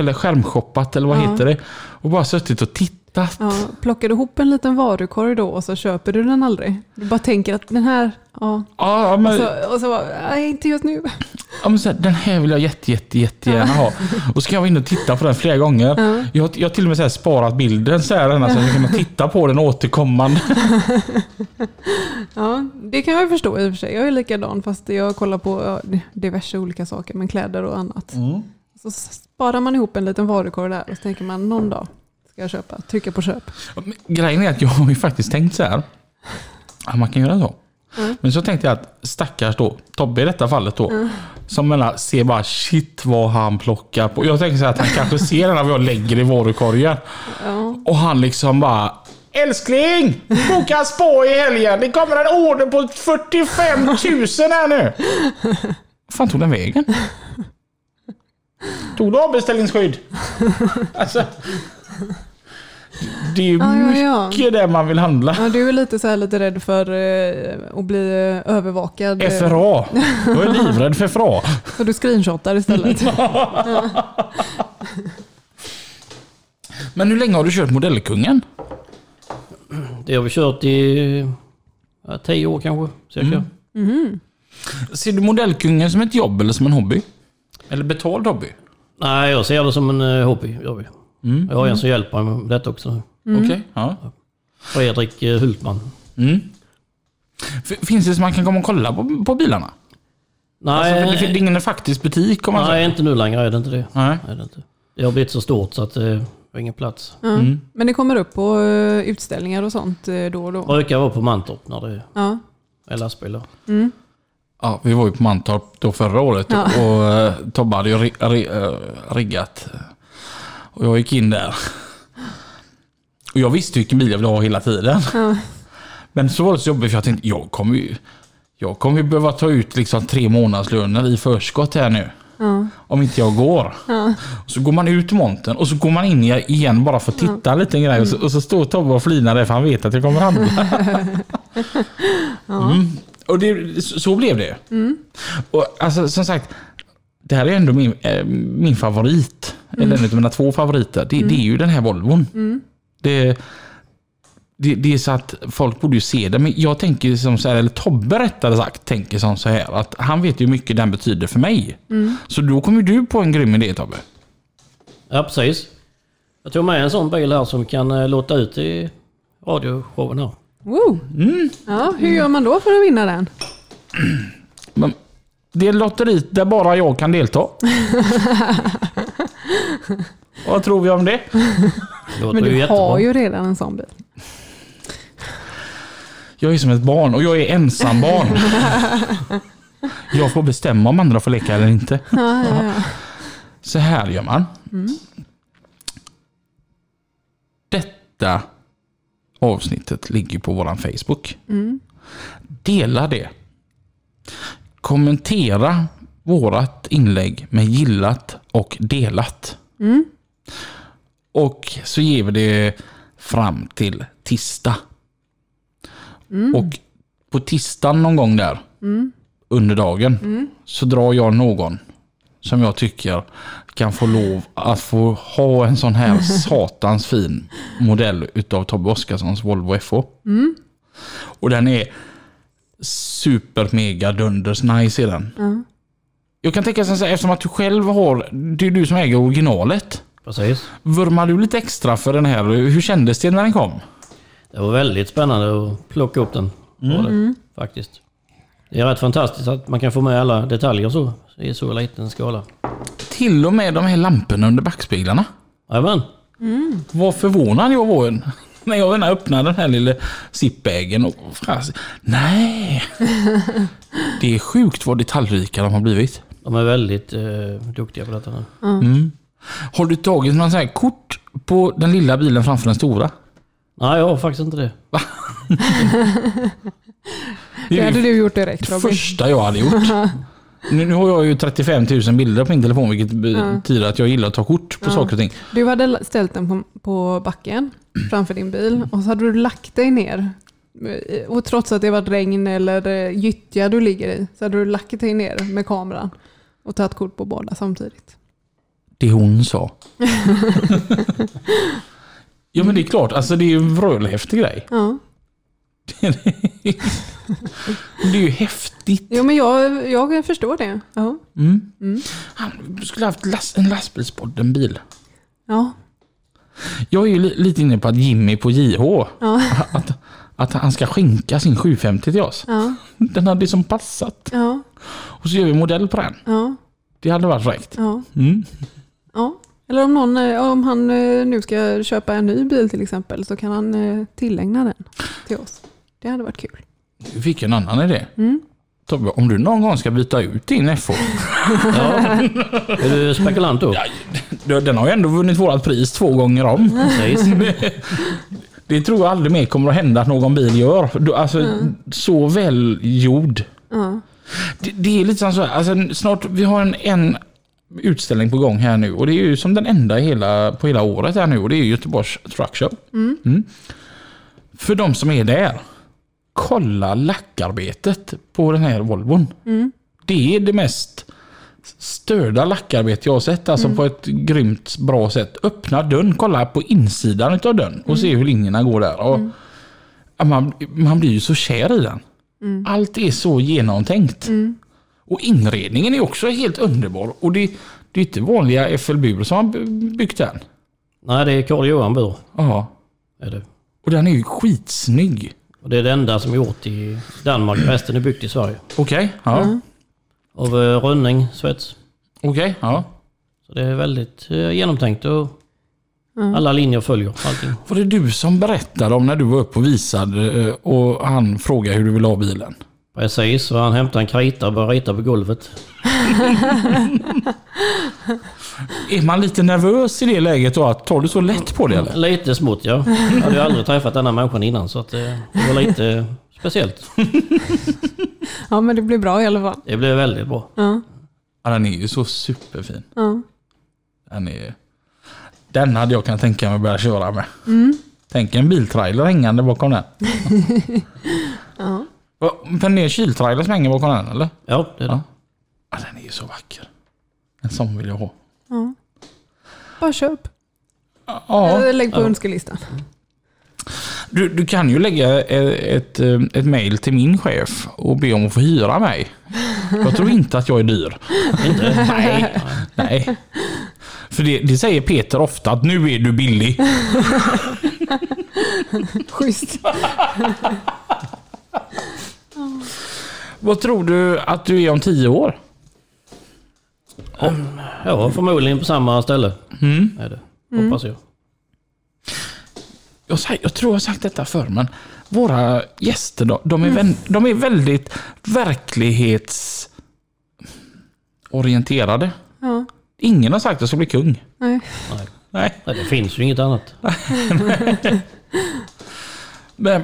Speaker 1: eller skärmshoppat eller vad heter det. Och bara suttit och tittat.
Speaker 2: Ja, plockar du ihop en liten varukorg då och så köper du den aldrig? Du bara tänker att den här, ja.
Speaker 1: Ja, ja, men,
Speaker 2: Och så, och så bara, nej inte just nu.
Speaker 1: ja, men så här, den här vill jag jätte, jätte, jättegärna ha. Och så kan jag vara inne och titta på den flera gånger. Jag, har- jag har till och med så här sparat bilden så här, ända, så jag kan titta på den återkommande.
Speaker 2: Ja, det kan jag förstå i och för sig. Jag är likadan fast jag kollar på ja, diverse olika saker, men kläder och annat. Så sparar man ihop en liten varukorg där och så tänker man någon dag ska jag köpa, trycka på köp.
Speaker 1: Men Grejen är att jag har ju faktiskt tänkt så här. Att man kan göra så.
Speaker 2: Mm.
Speaker 1: Men så tänkte jag att stackars då, Tobbe i detta fallet då. Som menar, ser bara shit vad han plockar på. Jag tänker så här att han kanske ser den när jag lägger i varukorgen.
Speaker 2: Ja,
Speaker 1: Och han liksom bara Älskling! Boka spå i helgen! Det kommer en order på 45 000 här nu! Vad fan tog den vägen? Tog du avbeställningsskydd? Alltså... Det är ju
Speaker 2: Ja, ja, ja.
Speaker 1: mycket där man vill handla.
Speaker 2: ja du är lite så här lite rädd för eh, att bli eh, övervakad. eh,
Speaker 1: FRA. Jag är livrädd för FRA.
Speaker 2: Så du screenshotar istället.
Speaker 1: Men hur länge har du kört Modellkungen?
Speaker 3: Det har vi kört i ja, 10 år kanske. Cirka.
Speaker 1: Ser du Modellkungen som ett jobb eller som en hobby? Eller betald hobby?
Speaker 3: Nej, jag ser det som en eh, hobby. Gör vi. Jag har en som hjälper mig med detta också.
Speaker 1: Okej. Ja.
Speaker 3: Fredrik eh, Hultman.
Speaker 1: F- Finns det så man kan komma och kolla på, på bilarna?
Speaker 3: Nej,
Speaker 1: Alltså, för det, det är ingen faktisk butik om man säger.
Speaker 3: nej, inte nu längre är det inte det.
Speaker 1: Nej.
Speaker 3: Nej, det, är inte. det har blivit så stort så att eh, det har ingen plats.
Speaker 2: Ja. Men det kommer upp på eh, utställningar och sånt eh, då och då.
Speaker 3: Brukar vara på Mantorp när det
Speaker 2: Ja.
Speaker 3: är lastbilar.
Speaker 1: Ja, vi var ju på Mantorp då förra året
Speaker 2: Ja.
Speaker 1: och eh, Tobbe hade ju ri, ri, eh, riggat. Och jag gick in där. Och jag visste vilken bil jag ville ha hela tiden. Men så var det så jobbigt för jag tänkte jag kommer ju, jag kommer ju behöva ta ut liksom tre månadslöner i förskott här nu.
Speaker 2: Ja.
Speaker 1: Om inte jag går. Så går man ut i montern och så går man in igen bara för att titta lite grann. Och så, och så står Tobbe och flinar där för han vet att jag kommer handla. mm. Och det, så så blev det. Och, alltså, som sagt, det här är ändå min, eh, min favorit. Eller en av mina två favoriter. Det, det är ju den här Volvon. Det, det, det är så att folk borde ju se det. Men jag tänker som så här, eller Tobbe rättare sagt, tänker som så här att han vet ju hur mycket den betyder för mig. Så då kommer du på en grym idé Tobbe.
Speaker 3: Ja, precis. Jag tog med en sån bil här som kan eh, låta ut i radioshowen här.
Speaker 2: Wow. Ja, hur gör man då för att vinna den?
Speaker 1: Men det är lotteriet där bara jag kan delta. Vad tror vi om det?
Speaker 3: Det låter
Speaker 2: Men
Speaker 3: ju
Speaker 2: du
Speaker 3: jättebra.
Speaker 2: har ju redan en sån bil.
Speaker 1: Jag är som ett barn och jag är ensam barn. Jag får bestämma om andra får leka eller inte. Så här gör man. Detta avsnittet ligger på vår Facebook. Dela det. Kommentera vårat inlägg med gillat och delat. Och så ger vi det fram till tisdag. Och på tisdagen någon gång där under dagen så drar jag någon som jag tycker kan få lov att få ha en sån här satans fin modell utav Tobbe Oskarssons Volvo FH. Och den är super mega dunders nice i den. Jag kan tänka mig eftersom att du själv har, det är du som äger originalet.
Speaker 3: Precis.
Speaker 1: Vurmar du lite extra för den här? Hur kändes det när den kom?
Speaker 3: Det var väldigt spännande att plocka upp den. Var det,
Speaker 2: Mm.
Speaker 3: faktiskt. Det är rätt fantastiskt att man kan få med alla detaljer så i så liten skala.
Speaker 1: Till och med de här lamporna under backspeglarna.
Speaker 3: Jajamän.
Speaker 1: Vad förvånad jag var när jag när jag öppnade den här lilla zippbägen och fras. Nej! Det är sjukt vad detaljrika de har blivit.
Speaker 3: De är väldigt eh, duktiga på detta nu.
Speaker 1: Har du tagit någon sån här kort på den lilla bilen framför den stora?
Speaker 3: Nej, jag har faktiskt inte det.
Speaker 1: Det
Speaker 2: Det
Speaker 1: är
Speaker 2: hade
Speaker 1: det
Speaker 2: du gjort direkt Robin.
Speaker 1: första jag hade gjort. Nu, nu har jag ju 35 000 bilder på min telefon vilket betyder att jag gillar att ta kort på saker och ting.
Speaker 2: Du hade ställt den på, på backen framför din bil och så hade du lagt dig ner. Eh, Och trots att det var regn eller eh, gyttja du ligger i så hade du lagt dig ner med kameran och tagit kort på båda samtidigt.
Speaker 1: Det hon sa. ja men det är klart, alltså det är ju en vrölhäftig grej.
Speaker 2: Ja.
Speaker 1: Det är ju häftigt.
Speaker 2: Jo men jag, jag förstår det. Ja.
Speaker 1: Mm. Han skulle haft last, en lastbilspodd, en bil.
Speaker 2: Ja.
Speaker 1: Jag är ju li, lite inne på att Jimmy på JH, att, att han ska skänka sin 750 till oss.
Speaker 2: Ja.
Speaker 1: Den hade som passat.
Speaker 2: Ja.
Speaker 1: Och så gör vi modell på den.
Speaker 2: Ja.
Speaker 1: Det hade varit fräckt.
Speaker 2: Ja.
Speaker 1: Mm.
Speaker 2: ja. Eller om, någon, eh, om han eh, nu ska köpa en ny bil till exempel så kan han eh, tillägna den till oss. Det hade varit kul.
Speaker 1: Vi fick en annan idé. Tobbe, om du någon gång ska byta ut din FH.
Speaker 3: Ja. är du spekulant då?
Speaker 1: du, den har ju ändå vunnit vårat pris två gånger om.
Speaker 3: Precis.
Speaker 1: Det tror jag aldrig mer kommer att hända att någon bil gör. Du, alltså, Så välgjord.
Speaker 2: Ja.
Speaker 1: Det, det är lite som så här, alltså, snart, vi har en, en utställning på gång här nu och det är ju som den enda i hela, på hela året här nu och det är ju Göteborgs Truck Show. Mm. För de som är där, kolla lackarbetet på den här Volvon. Det är det mest störda lackarbete jag har sett, alltså på ett grymt bra sätt. Öppna dörren, kolla på insidan av dörren och se hur linjerna går där. Och, ja, man, man blir ju så kär i den. Allt är så genomtänkt. Och inredningen är också helt underbar. Och det, det är inte vanliga FLBur som har by- byggt den.
Speaker 3: Nej, det är Carl-Johan Bur.
Speaker 1: Ja.
Speaker 3: Är det.
Speaker 1: Och den är ju skitsnygg.
Speaker 3: Och det är det enda som är gjort i Danmark. Resten är byggt i Sverige.
Speaker 1: Okej, ja.
Speaker 3: Av eh, rönning, svets.
Speaker 1: Okej, ja.
Speaker 3: Så det är väldigt eh, genomtänkt och
Speaker 1: Mm.
Speaker 3: alla linjer följer allting.
Speaker 1: Var det du som berättade om när du var uppe och visade eh, och han frågade hur du ville ha bilen?
Speaker 3: Precis, och han hämtade en krita och började rita på golvet.
Speaker 1: Är man lite nervös i det läget då? Att Tar du så lätt på det eller?
Speaker 3: Lite smått ja. Jag hade ju aldrig träffat denna människan innan så att eh, det var lite speciellt.
Speaker 2: ja men det blir bra i alla fall.
Speaker 3: Det blev väldigt bra.
Speaker 2: Ja.
Speaker 1: Ja, den är ju så superfin.
Speaker 2: Ja.
Speaker 1: Den, är, den hade jag kunnat tänka mig att börja köra med.
Speaker 2: Mm.
Speaker 1: Tänk en biltrailer hängande bakom den.
Speaker 2: Ja.
Speaker 1: Va, Men det är en kyltrailer som hänger bakom den eller?
Speaker 3: Ja, det är det.
Speaker 1: Ja. Ja, den är ju så vacker. En sån vill jag ha.
Speaker 2: ja. Bara köp.
Speaker 1: Ja,
Speaker 2: Eller Lägg på önskelistan.
Speaker 1: du, du kan ju lägga eh, ett, eh, ett mail till min chef och be om att få hyra mig. Jag tror inte att jag är dyr.
Speaker 3: Inte?
Speaker 1: Nej. Nej. För det, det säger Peter ofta att nu är du billig.
Speaker 2: Schysst.
Speaker 1: Vad tror du att du är om tio år?
Speaker 3: Ja, förmodligen på samma ställe.
Speaker 1: Mm.
Speaker 3: Är det. Hoppas jag.
Speaker 1: Jag, säger, jag tror jag har sagt detta förr, men våra gäster då, de, är, vän, de är väldigt verklighetsorienterade.
Speaker 2: Ja.
Speaker 1: Ingen har sagt att jag ska bli kung.
Speaker 2: Nej.
Speaker 3: Nej.
Speaker 1: Nej.
Speaker 3: Nej, det finns ju inget annat.
Speaker 1: Men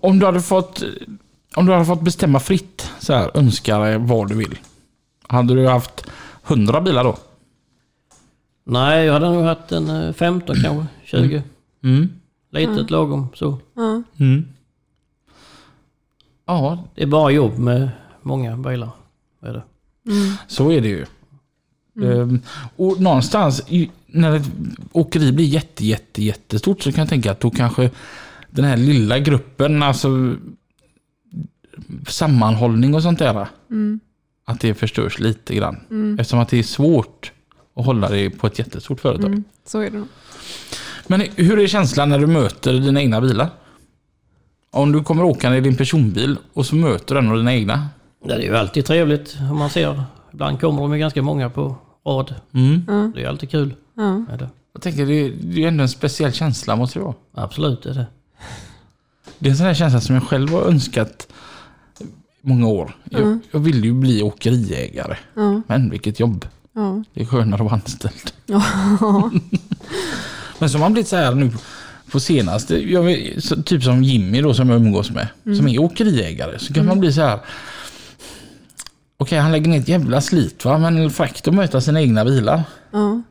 Speaker 1: om du hade fått, om du hade fått bestämma fritt, så här, önska dig vad du vill. Hade du haft 100 bilar då?
Speaker 3: Nej, jag hade nog haft en eh, 15 kanske, 20.
Speaker 1: Mm.
Speaker 3: Litet lagom så.
Speaker 2: Ja.
Speaker 1: Mm. Ja,
Speaker 3: Det är bara jobb med många bilar. Är det.
Speaker 1: Så är det ju. Ehm, och någonstans i, när ett åkeri blir jätte, jätte, jättestort så kan jag tänka att då kanske den här lilla gruppen, alltså sammanhållning och sånt där. Att det förstörs lite grann. Eftersom att det är svårt att hålla det på ett jättestort företag.
Speaker 2: Mm. Så är det nog.
Speaker 1: Men hur är känslan när du möter dina egna bilar? Om du kommer åkande i din personbil och så möter du en av dina egna.
Speaker 3: Det är ju alltid trevligt om man ser. Ibland kommer de ju ganska många på rad.
Speaker 1: Mm.
Speaker 2: Ja.
Speaker 3: Det är alltid kul.
Speaker 2: Ja.
Speaker 3: Är det.
Speaker 1: Jag tänker det är, det är ändå en speciell känsla måste det vara.
Speaker 3: Absolut det är det.
Speaker 1: Det är en sån här känsla som jag själv har önskat många år. Jag, jag ville ju bli åkeriägare.
Speaker 2: Ja.
Speaker 1: Men vilket jobb.
Speaker 2: Ja.
Speaker 1: Det är skönare att vara anställd. Men som man blivit så här nu på senaste, jag vet, så, typ som Jimmy då som jag umgås med,
Speaker 2: Mm.
Speaker 1: som är åkeriägare, så kan man bli så här. Okej, han lägger ner ett jävla slit va, men fräckt att möta sina egna bilar.
Speaker 2: Ja.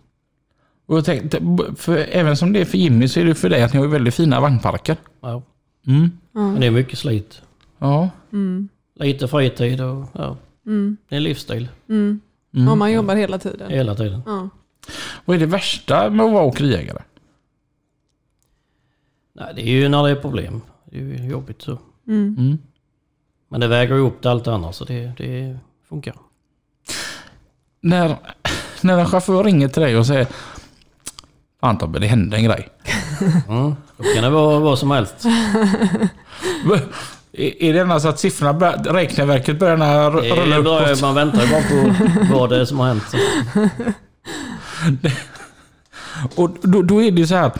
Speaker 1: Och jag tänkte, för även som det är för Jimmy så är det för dig att ni har ju väldigt fina vagnparker.
Speaker 3: Ja.
Speaker 1: Mm.
Speaker 3: Men det är mycket slit.
Speaker 1: Ja.
Speaker 3: Lite fritid och ja.
Speaker 2: Mm.
Speaker 3: det är en livsstil
Speaker 2: Mm. ja, man jobbar hela tiden.
Speaker 3: hela tiden.
Speaker 2: Ja.
Speaker 1: Vad är det värsta med att vara åkeriägare?
Speaker 3: Nej, det är ju när det är problem. Det är ju jobbigt så.
Speaker 2: Mm.
Speaker 1: Mm.
Speaker 3: Men det väger ihop till allt annat så det, det funkar.
Speaker 1: När, när en chaufför ringer till dig och säger Fan Tobbe, det hände en grej.
Speaker 3: Mm. Då kan det vara vad som helst.
Speaker 1: Är är det annars att siffrorna, bör, räkneverket börjar när
Speaker 3: Det
Speaker 1: rulla
Speaker 3: är bara,
Speaker 1: uppåt?
Speaker 3: man väntar ju bara på vad det är som har hänt. Så.
Speaker 1: Och då, då är det ju så här.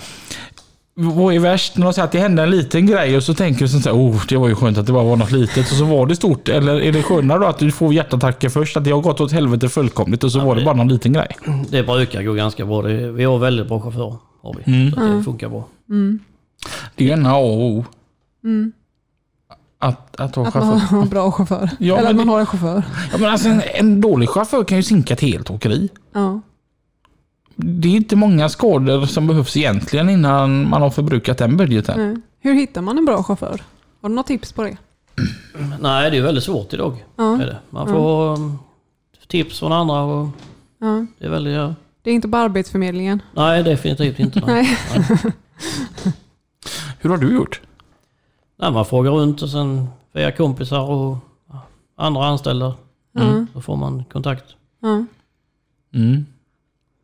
Speaker 1: Vad är värst? När de säger att det hände en liten grej och så tänker du sånt här, oh det var ju skönt att det bara var något litet och så var det stort. Eller är det skönare då att du får hjärtattacker först, att det har gått åt helvete fullkomligt och så var det bara någon liten grej?
Speaker 3: Det brukar gå ganska bra. Det, vi har väldigt bra chaufförer. Har vi. Så att det funkar bra.
Speaker 1: Det är ju en A och O. Att, att ha
Speaker 2: Mm. Att man
Speaker 1: chaufför.
Speaker 2: har en bra chaufför.
Speaker 1: Ja,
Speaker 2: Eller
Speaker 1: men
Speaker 2: att man
Speaker 1: det-
Speaker 2: har en chaufför.
Speaker 1: Ja, men alltså en, en dålig chaufför kan ju sinka ett helt åkeri.
Speaker 2: Ja.
Speaker 1: Det är inte många skador som behövs egentligen innan man har förbrukat den budgeten.
Speaker 2: Nej. Hur hittar man en bra chaufför? Har du något tips på det?
Speaker 3: Nej, det är väldigt svårt idag.
Speaker 2: Ja.
Speaker 3: Är det. Man får um, tips från andra och
Speaker 2: Ja.
Speaker 3: det är väldigt... ja.
Speaker 2: Det är inte bara Arbetsförmedlingen.
Speaker 3: Nej, definitivt inte. Nej.
Speaker 2: Nej.
Speaker 1: Hur har du gjort?
Speaker 3: Nej, man frågar runt och sen via kompisar och ja, andra anställda. Mm.
Speaker 2: Ja.
Speaker 3: Då får man kontakt.
Speaker 2: Ja.
Speaker 1: Mm.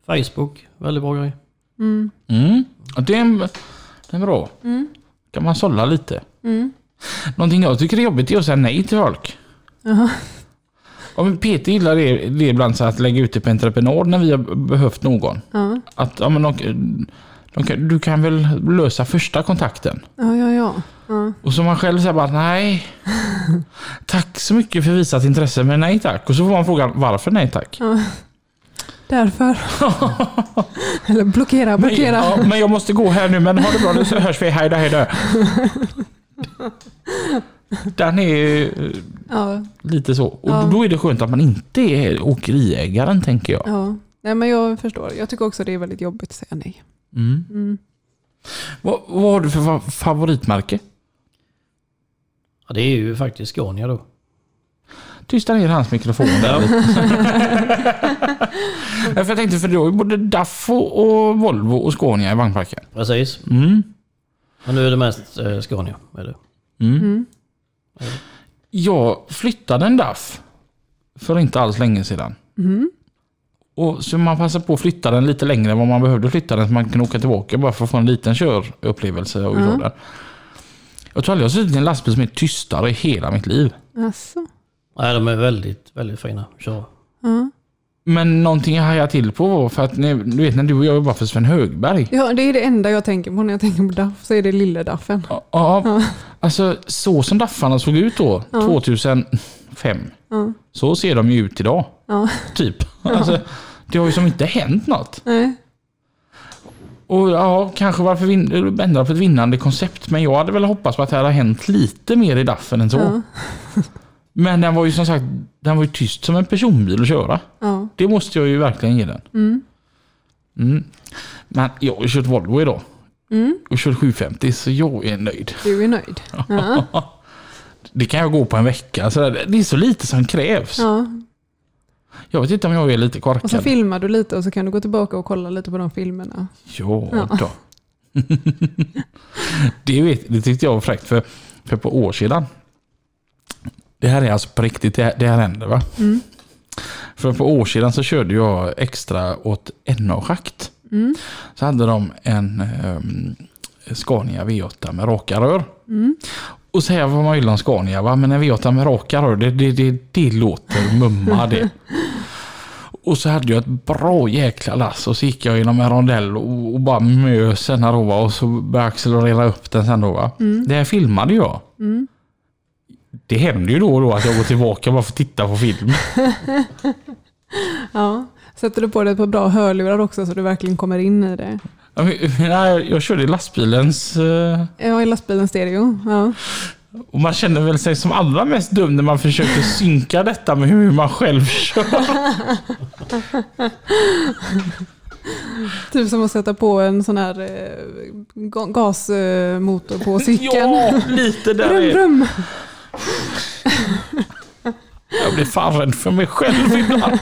Speaker 3: Facebook, väldigt bra grej.
Speaker 2: Mm.
Speaker 1: Mm. Ja, Det, är en, det är bra.
Speaker 2: Mm.
Speaker 1: kan man sålla lite.
Speaker 2: Mm.
Speaker 1: Någonting jag tycker är jobbigt är att säga nej till folk.
Speaker 2: Jaha.
Speaker 1: Ja, men Peter gillar det, det ibland så att lägga ut det på entreprenad när vi har behövt någon.
Speaker 2: Ja.
Speaker 1: Att, ja, men de, de, kan- du kan väl lösa första kontakten?
Speaker 2: Ja, ja, ja. ja.
Speaker 1: Och så man själv säger bara nej. Tack så mycket för visat intresse men nej tack. Och så får man frågan varför nej tack?
Speaker 2: Därför. Eller blockera,
Speaker 1: Men,
Speaker 2: blockera.
Speaker 1: ja, men jag måste gå här nu men ha det bra nu så hörs vi. Hejdå hejdå. Den är, eh,
Speaker 2: Ja,
Speaker 1: Lite så. Och
Speaker 2: Ja.
Speaker 1: då är det skönt att man inte är åkeriägaren tänker jag.
Speaker 2: ja. Nej, men jag förstår. Jag tycker också det är väldigt jobbigt att säga nej.
Speaker 1: Mm.
Speaker 2: Mm.
Speaker 1: Vad, vad har du för fa- favoritmärke?
Speaker 3: Ja, det är ju faktiskt Scania då.
Speaker 1: Tysta ner hans mikrofon där. Ja, för jag tänkte, för du har ju både DAF och, och Volvo och Scania i vagnparken.
Speaker 3: Precis.
Speaker 1: Mm.
Speaker 3: Men nu är det mest eh, Scania. Är det.
Speaker 1: Jag flyttade en DAF för inte alls länge sedan.
Speaker 2: Mm.
Speaker 1: Och så man passade på att flytta den lite längre än vad man behövde flytta den så man kunde åka tillbaka bara för att få en liten körupplevelse. Och mm. Jag tror aldrig jag har suttit i en lastbil som är tystare i hela mitt liv.
Speaker 2: Alltså.
Speaker 3: Nej, de är väldigt, väldigt fina att köra.
Speaker 2: Ja.
Speaker 1: Men någonting jag hajade till på var för att ni, du vet när du och jag jobbade för Sven Högberg.
Speaker 2: ja, det är det enda jag tänker på när jag tänker på Daff, så är det lille Daffen.
Speaker 1: Ja, alltså så som daffarna såg ut då, 2005.
Speaker 2: Ja.
Speaker 1: Så ser de ju ut idag.
Speaker 2: Ja.
Speaker 1: Typ. Alltså, det har ju som inte hänt något.
Speaker 2: Nej.
Speaker 1: Och ja, kanske varför vin- ändra på ett vinnande koncept. Men jag hade väl hoppats på att det hade hänt lite mer i daffen än så.
Speaker 2: Ja.
Speaker 1: Men den var ju som sagt, den var ju tyst som en personbil att köra.
Speaker 2: Ja.
Speaker 1: Det måste jag ju verkligen ge den.
Speaker 2: Mm.
Speaker 1: Mm. Men jag har ju kört Volvo idag.
Speaker 2: Mm.
Speaker 1: Och kört 750 så jag är nöjd.
Speaker 2: Du är nöjd. Ja.
Speaker 1: Det kan jag gå på en vecka. Så där, det är så lite som krävs.
Speaker 2: Ja.
Speaker 1: Jag vet inte om jag är lite
Speaker 2: Och så
Speaker 1: korkad.
Speaker 2: filmar du lite och så kan du gå tillbaka och kolla lite på de filmerna.
Speaker 1: Ja, då. det, vet, det tyckte jag var fräckt för, för på år sedan. Det här är alltså på riktigt, det här, det här händer va?
Speaker 2: Mm.
Speaker 1: För på år sedan så körde jag extra åt NA-schakt.
Speaker 2: Mm.
Speaker 1: Så hade de en ehm, Scania V8 med raka rör.
Speaker 2: Mm.
Speaker 1: Och så här var man ju om Scania va, men en V8 med raka rör, det, det, det, det låter mumma det. Och så hade jag ett bra jäkla lass och så gick jag genom en rondell och, och bara mös den här då va, och så började jag accelerera upp den sen då va. Det här filmade jag.
Speaker 2: Mm.
Speaker 1: Det händer ju då och då att jag går tillbaka bara för att titta på film.
Speaker 2: Ja. Sätter du på dig ett par bra hörlurar också så du verkligen kommer in i det.
Speaker 1: Ja, men- men Jag, jag körde i lastbilens... eh,
Speaker 2: Ja, i lastbilen stereo. Ja.
Speaker 1: Och man känner väl sig som allra mest dum när man försöker synka detta med hur man själv kör.
Speaker 2: Typ som att sätta på en sån här eh, ga- gasmotor på cykeln.
Speaker 1: Ja, lite där
Speaker 2: Brum,
Speaker 1: är.
Speaker 2: brum.
Speaker 1: Jag blir fan rädd för mig själv ibland.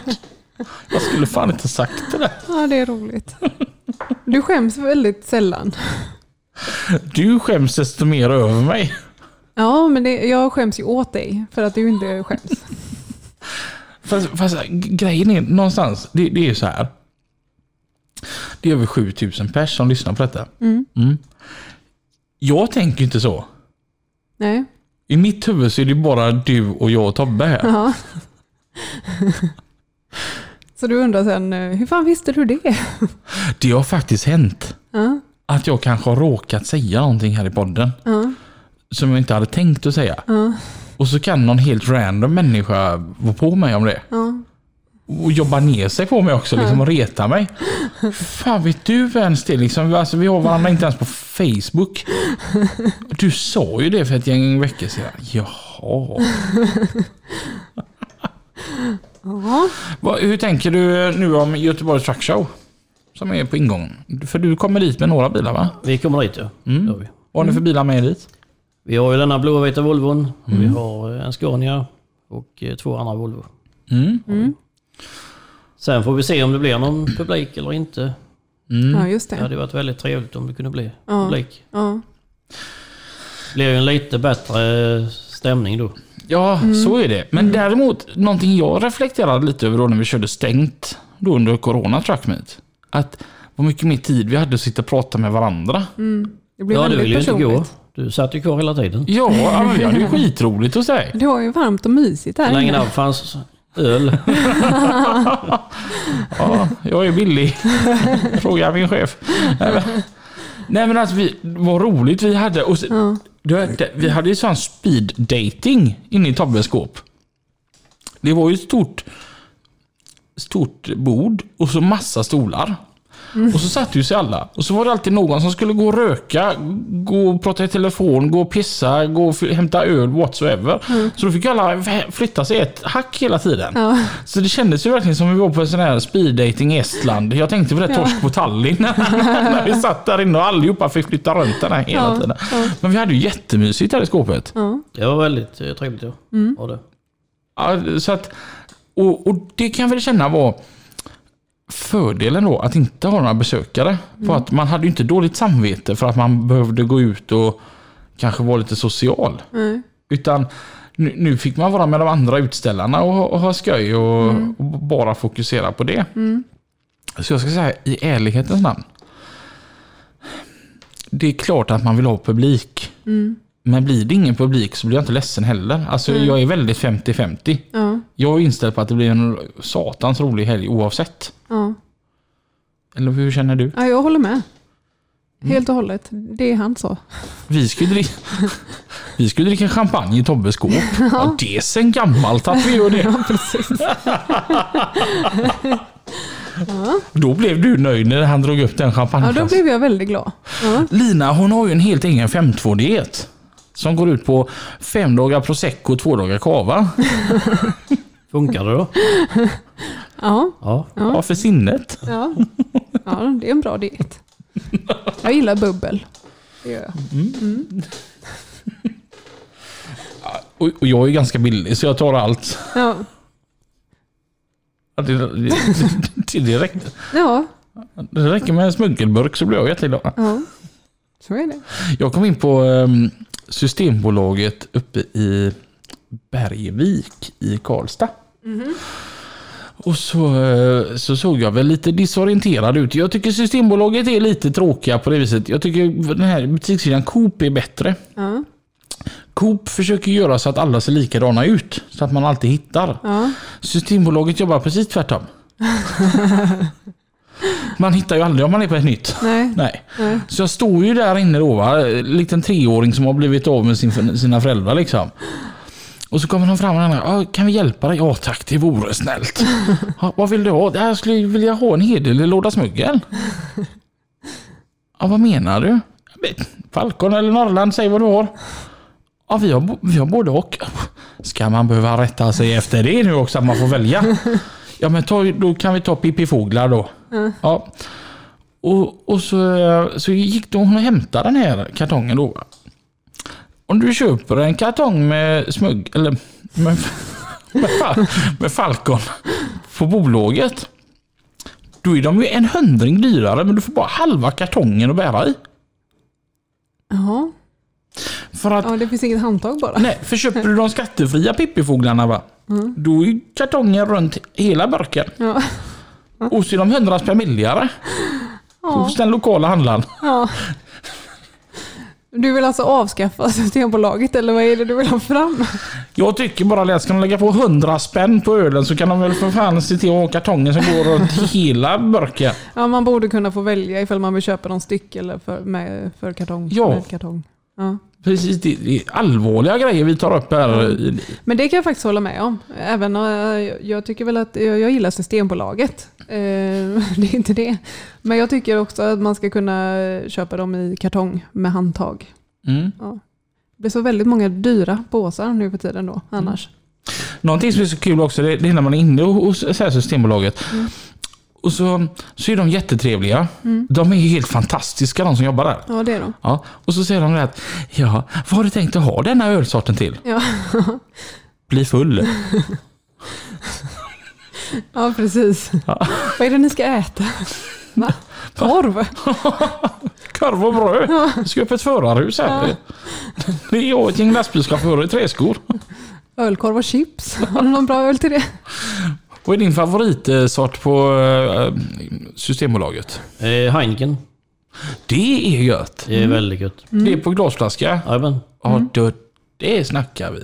Speaker 1: Jag skulle fan inte sagt det där.
Speaker 2: Ja, det är roligt. Du skäms väldigt sällan.
Speaker 1: Du skäms desto mer över mig.
Speaker 2: Ja, men det, jag skäms ju åt dig för att du inte skäms.
Speaker 1: Fast, fast eh, g- grejen är någonstans, det, det är ju så här. Det är över 7000 pers som lyssnar på detta.
Speaker 2: Mm.
Speaker 1: Mm. Jag tänker ju inte så.
Speaker 2: Nej.
Speaker 1: I mitt huvud så är det bara du och jag och Tobbe här.
Speaker 2: Ja. Så du undrar sen, eh, hur fan visste du det?
Speaker 1: Det har faktiskt hänt.
Speaker 2: Ja,
Speaker 1: Att jag kanske har råkat säga någonting här i podden.
Speaker 2: ja,
Speaker 1: Som jag inte hade tänkt att säga.
Speaker 2: ja,
Speaker 1: Och så kan någon helt random människa vara på mig om det.
Speaker 2: ja.
Speaker 1: Och jobba ner sig på mig också liksom, och reta mig. Fan vet du ens det? Liksom, alltså, vi har varandra inte ens på Facebook. Du sa ju det för ett gäng veckor sedan. Jaha.
Speaker 2: ja.
Speaker 1: Vad- Hur tänker du nu om Göteborgs Truck Show? Som är på ingången. För du kommer dit med några bilar va?
Speaker 3: Vi kommer dit ja. Det gör vi.
Speaker 1: Vad har ni för bilar med er dit?
Speaker 3: vi har ju denna blåa vita Volvon. Vi har eh, en Scania och eh, två andra Volvo.
Speaker 1: Mm.
Speaker 3: Sen får vi se om det blir någon publik eller inte.
Speaker 2: ja just
Speaker 3: Det
Speaker 2: det.
Speaker 3: hade varit väldigt trevligt om det kunde bli
Speaker 2: Ja.
Speaker 3: publik.
Speaker 2: Ja.
Speaker 3: Det blir ju en lite bättre eh, stämning då.
Speaker 1: Ja, så är det. Men däremot, någonting jag reflekterade lite över då när vi körde stängt då under corona trackmeet. Att vad mycket mer tid vi hade att sitta och prata med varandra.
Speaker 2: Det blir
Speaker 3: ja, du
Speaker 2: väldigt
Speaker 3: ville ju inte gå.
Speaker 2: personligt.
Speaker 3: Du satt ju kvar hela tiden.
Speaker 1: Ja, ja, men vi hade ju skitroligt hos dig.
Speaker 2: Det var ju varmt och mysigt
Speaker 3: Så
Speaker 2: här
Speaker 3: länge
Speaker 2: inne.
Speaker 3: det fanns öl.
Speaker 1: Ja, jag är billig. Fråga min chef. Nej men, nej, men alltså vi, vad roligt vi hade. Och så,
Speaker 2: Ja.
Speaker 1: du vet, vi hade ju sån speed dating inne i Tobbes skåp. Det var ju ett stort, stort bord och så massa stolar. Och så satte ju sig alla. Och så var det alltid någon som skulle gå och röka, gå och prata i telefon, gå och pissa, gå och f- hämta öl, whatsoever.
Speaker 2: Mm.
Speaker 1: Så då fick alla vä- flytta sig ett hack hela tiden. Så det kändes ju verkligen som vi var på en sån här speed dating i Estland. Jag tänkte på det torsk på Tallinn. när vi satt där inne och allihopa fick flytta runt den här hela
Speaker 2: Ja,
Speaker 1: tiden. Men vi hade ju jättemysigt här i skåpet.
Speaker 2: Ja.
Speaker 3: Det var väldigt eh, trevligt. Ja. Var det.
Speaker 1: Ja, så att, och, och det kan jag väl känna var fördelen då att inte ha några besökare. För att man hade ju inte dåligt samvete för att man behövde gå ut och kanske vara lite social.
Speaker 2: Nej.
Speaker 1: Utan nu, nu fick man vara med de andra utställarna och, ha- och ha skoj och,
Speaker 2: Mm.
Speaker 1: och bara fokusera på det. Så jag ska säga i ärlighetens namn. Det är klart att man vill ha publik.
Speaker 2: Mm.
Speaker 1: Men blir det ingen publik så blir jag inte ledsen heller. Alltså jag är väldigt 50-50.
Speaker 2: Ja.
Speaker 1: Jag är inställd på att det blir en satans rolig helg oavsett.
Speaker 2: Ja.
Speaker 1: Eller hur känner du?
Speaker 2: ja, jag håller med. Helt och hållet. Det han sa.
Speaker 1: Vi skulle, dricka, vi skulle dricka champagne i Tobbes skåp. Ja, det är sen gammalt att vi gör det.
Speaker 2: Ja, precis.
Speaker 1: Då blev du nöjd när han drog upp den
Speaker 2: Ja, då
Speaker 1: champagneflaskan.
Speaker 2: blev jag väldigt glad. Ja.
Speaker 1: Lina hon har ju en helt egen 5-2-diet. Som går ut på fem dagar prosecco och två dagar cava.
Speaker 3: Funkar det då?
Speaker 2: Ja.
Speaker 3: Ja.
Speaker 1: Ja, för sinnet.
Speaker 2: Ja. ja, det är en bra diet. Jag gillar bubbel. Det gör jag.
Speaker 1: Och, och jag är ganska billig så jag tar allt.
Speaker 2: Ja.
Speaker 1: Ja, Det, det, det, räcker,
Speaker 2: Ja.
Speaker 1: det räcker med en smuggelburk så blir jag jätteglad.
Speaker 2: ja, så är det.
Speaker 1: Jag kom in på ehm, Systembolaget uppe i Bergvik i Karlstad.
Speaker 2: Mhm.
Speaker 1: Och så, eh, så såg jag väl lite disorienterad ut. Jag tycker Systembolaget är lite tråkiga på det viset. Jag tycker den här butikssidan Coop är bättre.
Speaker 2: Ja.
Speaker 1: Coop försöker göra så att alla ser likadana ut. Så att man alltid hittar.
Speaker 2: Ja.
Speaker 1: Systembolaget jobbar precis tvärtom. man hittar ju aldrig om man är på ett nytt.
Speaker 2: Nej.
Speaker 1: Nej.
Speaker 2: Nej.
Speaker 1: Så jag står ju där inne då, va? liten treåring som har blivit av med sin, sina föräldrar liksom. Och så kommer de fram och den här, "Ja, kan vi hjälpa dig? Ja tack, det vore snällt. "Ja, vad vill du ha? "Ja, Jag skulle vilja ha en hederlig låda smyggel. Ja, vad menar du? Falcon eller Norrland, säg vad du har. Ja, vi har, bo- vi har både och. Ska man behöva rätta sig efter det nu också, att man får välja? Ja, men ta, då kan vi ta pippifåglar då. Ja. Och, och så, eh, så gick de och hämtade den här kartongen då. va. Om du köper en kartong med smugg... Eller med, med, fal, med Falcon på bolaget. Då är de ju en hundring dyrare men du får bara halva kartongen att bära i.
Speaker 2: Jaha.
Speaker 1: För att,
Speaker 2: Ja, det finns inget handtag bara.
Speaker 1: nej, för köper du de skattefria pippifåglarna va?
Speaker 2: Mm.
Speaker 1: Då är ju kartongen runt hela burken.
Speaker 2: Ja.
Speaker 1: Och så är de hundra spänn billigare.
Speaker 2: Ja.
Speaker 1: Hos den lokala handlaren.
Speaker 2: Ja. Du vill alltså avskaffa Systembolaget eller vad är det du vill ha fram?
Speaker 1: Jag tycker bara att ska de lägga på 100 spänn på ölen så kan de väl för fan se till att ha kartongen som går runt hela burken.
Speaker 2: Ja, man borde kunna få välja ifall man vill köpa någon styck eller för, med, för kartong.
Speaker 1: Ja.
Speaker 2: Med kartong. Ja.
Speaker 1: Precis, det det är allvarliga grejer vi tar upp här.
Speaker 2: Men det kan jag faktiskt hålla med om. Även, eh, jag tycker väl att jag, jag gillar Systembolaget. Eh, Det är inte det. Men jag tycker också att man ska kunna köpa dem i kartong med handtag.
Speaker 1: Mm.
Speaker 2: Ja. Det blir så väldigt många dyra påsar nu för tiden då annars.
Speaker 1: Någonting som är så kul också, det det är när man är inne hos så här Systembolaget. Och så, så är de jättetrevliga. De är ju helt fantastiska de som jobbar där.
Speaker 2: Ja, det är de.
Speaker 1: Ja, och så säger de det att, ja, vad har du tänkt att ha denna ölsorten till?
Speaker 2: Ja,
Speaker 1: Bli full.
Speaker 2: ja precis.
Speaker 1: Ja.
Speaker 2: Vad är det ni ska äta? Va? Korv?
Speaker 1: Korv och bröd. Vi ska upp ett förarhus här.
Speaker 2: Ja.
Speaker 1: Det är jag och ett gäng lastbilschaufförer i träskor.
Speaker 2: Ölkorv och chips? Har du någon bra öl till det?
Speaker 1: Vad är din favoritsort på eh, Systembolaget?
Speaker 3: Eh, Heineken.
Speaker 1: Det är gött.
Speaker 3: Det är väldigt gött.
Speaker 1: Det är på glasflaska.
Speaker 3: Jajamän.
Speaker 1: Ja, då, det snackar vi.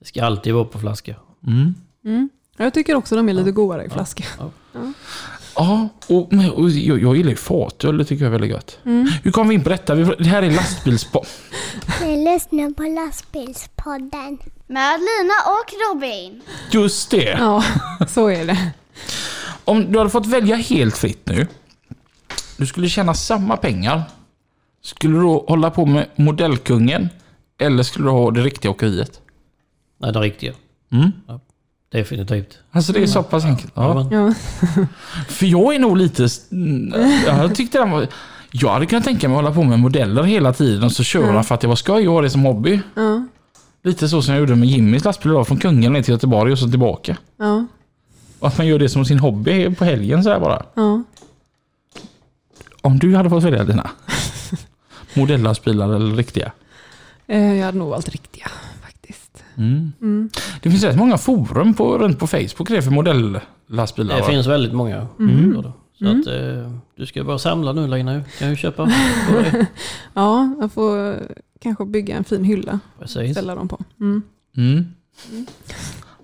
Speaker 3: Det ska alltid vara på flaska.
Speaker 2: Jag tycker också de är lite godare i flaska.
Speaker 1: Ja, och, men- och jag, jag gillar ju fatöl. Det tycker jag är väldigt gött. Hur kom vi in på detta? Vi, det här är lastbilspa...
Speaker 4: Ni lyssnar på Lastbilspodden.
Speaker 5: Med Lina och Robin.
Speaker 1: Just det.
Speaker 2: Ja, så är det.
Speaker 1: Om du hade fått välja helt fritt nu. Du skulle tjäna samma pengar. Skulle du då hålla på med modellkungen? Eller skulle du ha det riktiga åkeriet?
Speaker 3: Nej, det riktiga. Ja, definitivt.
Speaker 1: Alltså det är så pass enkelt. Ja.
Speaker 3: Jajamän.
Speaker 2: Ja.
Speaker 1: För jag är nog lite... mm, Jag tyckte den var... Jag hade kunnat tänka mig att hålla på med modeller hela tiden och så köra för att det var skoj och ha det som hobby.
Speaker 2: Mm. Ja.
Speaker 1: Lite så som jag gjorde med Jimmys lastbil idag, från Kungälv ner till Göteborg och så tillbaka.
Speaker 2: Ja.
Speaker 1: Och att man gör det som sin hobby på helgen sådär bara.
Speaker 2: Ja.
Speaker 1: Om du hade fått välja dina modellastbilar eller riktiga?
Speaker 2: Eh, Jag hade nog valt riktiga faktiskt.
Speaker 1: Det finns rätt många forum på, runt på Facebook det för modellastbilar.
Speaker 3: Det
Speaker 1: va?
Speaker 3: finns väldigt många.
Speaker 2: Mm.
Speaker 3: Gör det. Så att, eh, du ska börja samla nu Lina. ju. kan ju köpa. på dig.
Speaker 2: Ja, jag får eh, kanske bygga en fin hylla och
Speaker 3: Precis.
Speaker 2: ställa dem på. Mm.
Speaker 1: Mm.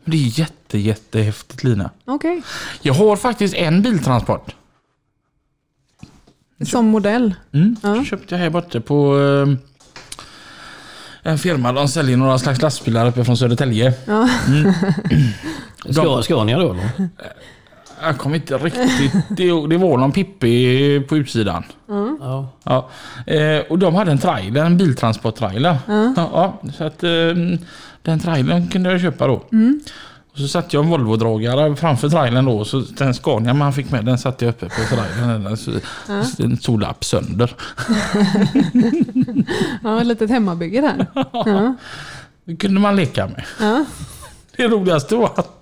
Speaker 1: Men Det är jätte, jättehäftigt Lina.
Speaker 2: Okej,
Speaker 1: Jag har faktiskt en biltransport.
Speaker 2: som modell.
Speaker 1: Mm.
Speaker 2: Ja.
Speaker 1: Köpte jag här borta på eh, en firma. De säljer några slags lastbilar uppe från Södertälje.
Speaker 2: Ja.
Speaker 3: Ska, Scania då
Speaker 2: Mm.
Speaker 3: eller?
Speaker 1: Jag kommer inte riktigt... Det, det var någon Pippi på utsidan.
Speaker 3: Ja.
Speaker 1: Ja. Eh, och de hade en trailer, en biltransporttrailer. Ja, ja, så att eh, den trailern kunde jag köpa då.
Speaker 2: Mm.
Speaker 1: Och så satte jag en Volvo-dragare framför trailern då. Så den Scania man fick med den satte jag uppe på trailern. Den, så, så den tog lapp sönder.
Speaker 2: Ja, ett litet hemmabygge där. Ja.
Speaker 1: Det kunde man leka med.
Speaker 2: Ja.
Speaker 1: Det roligaste var att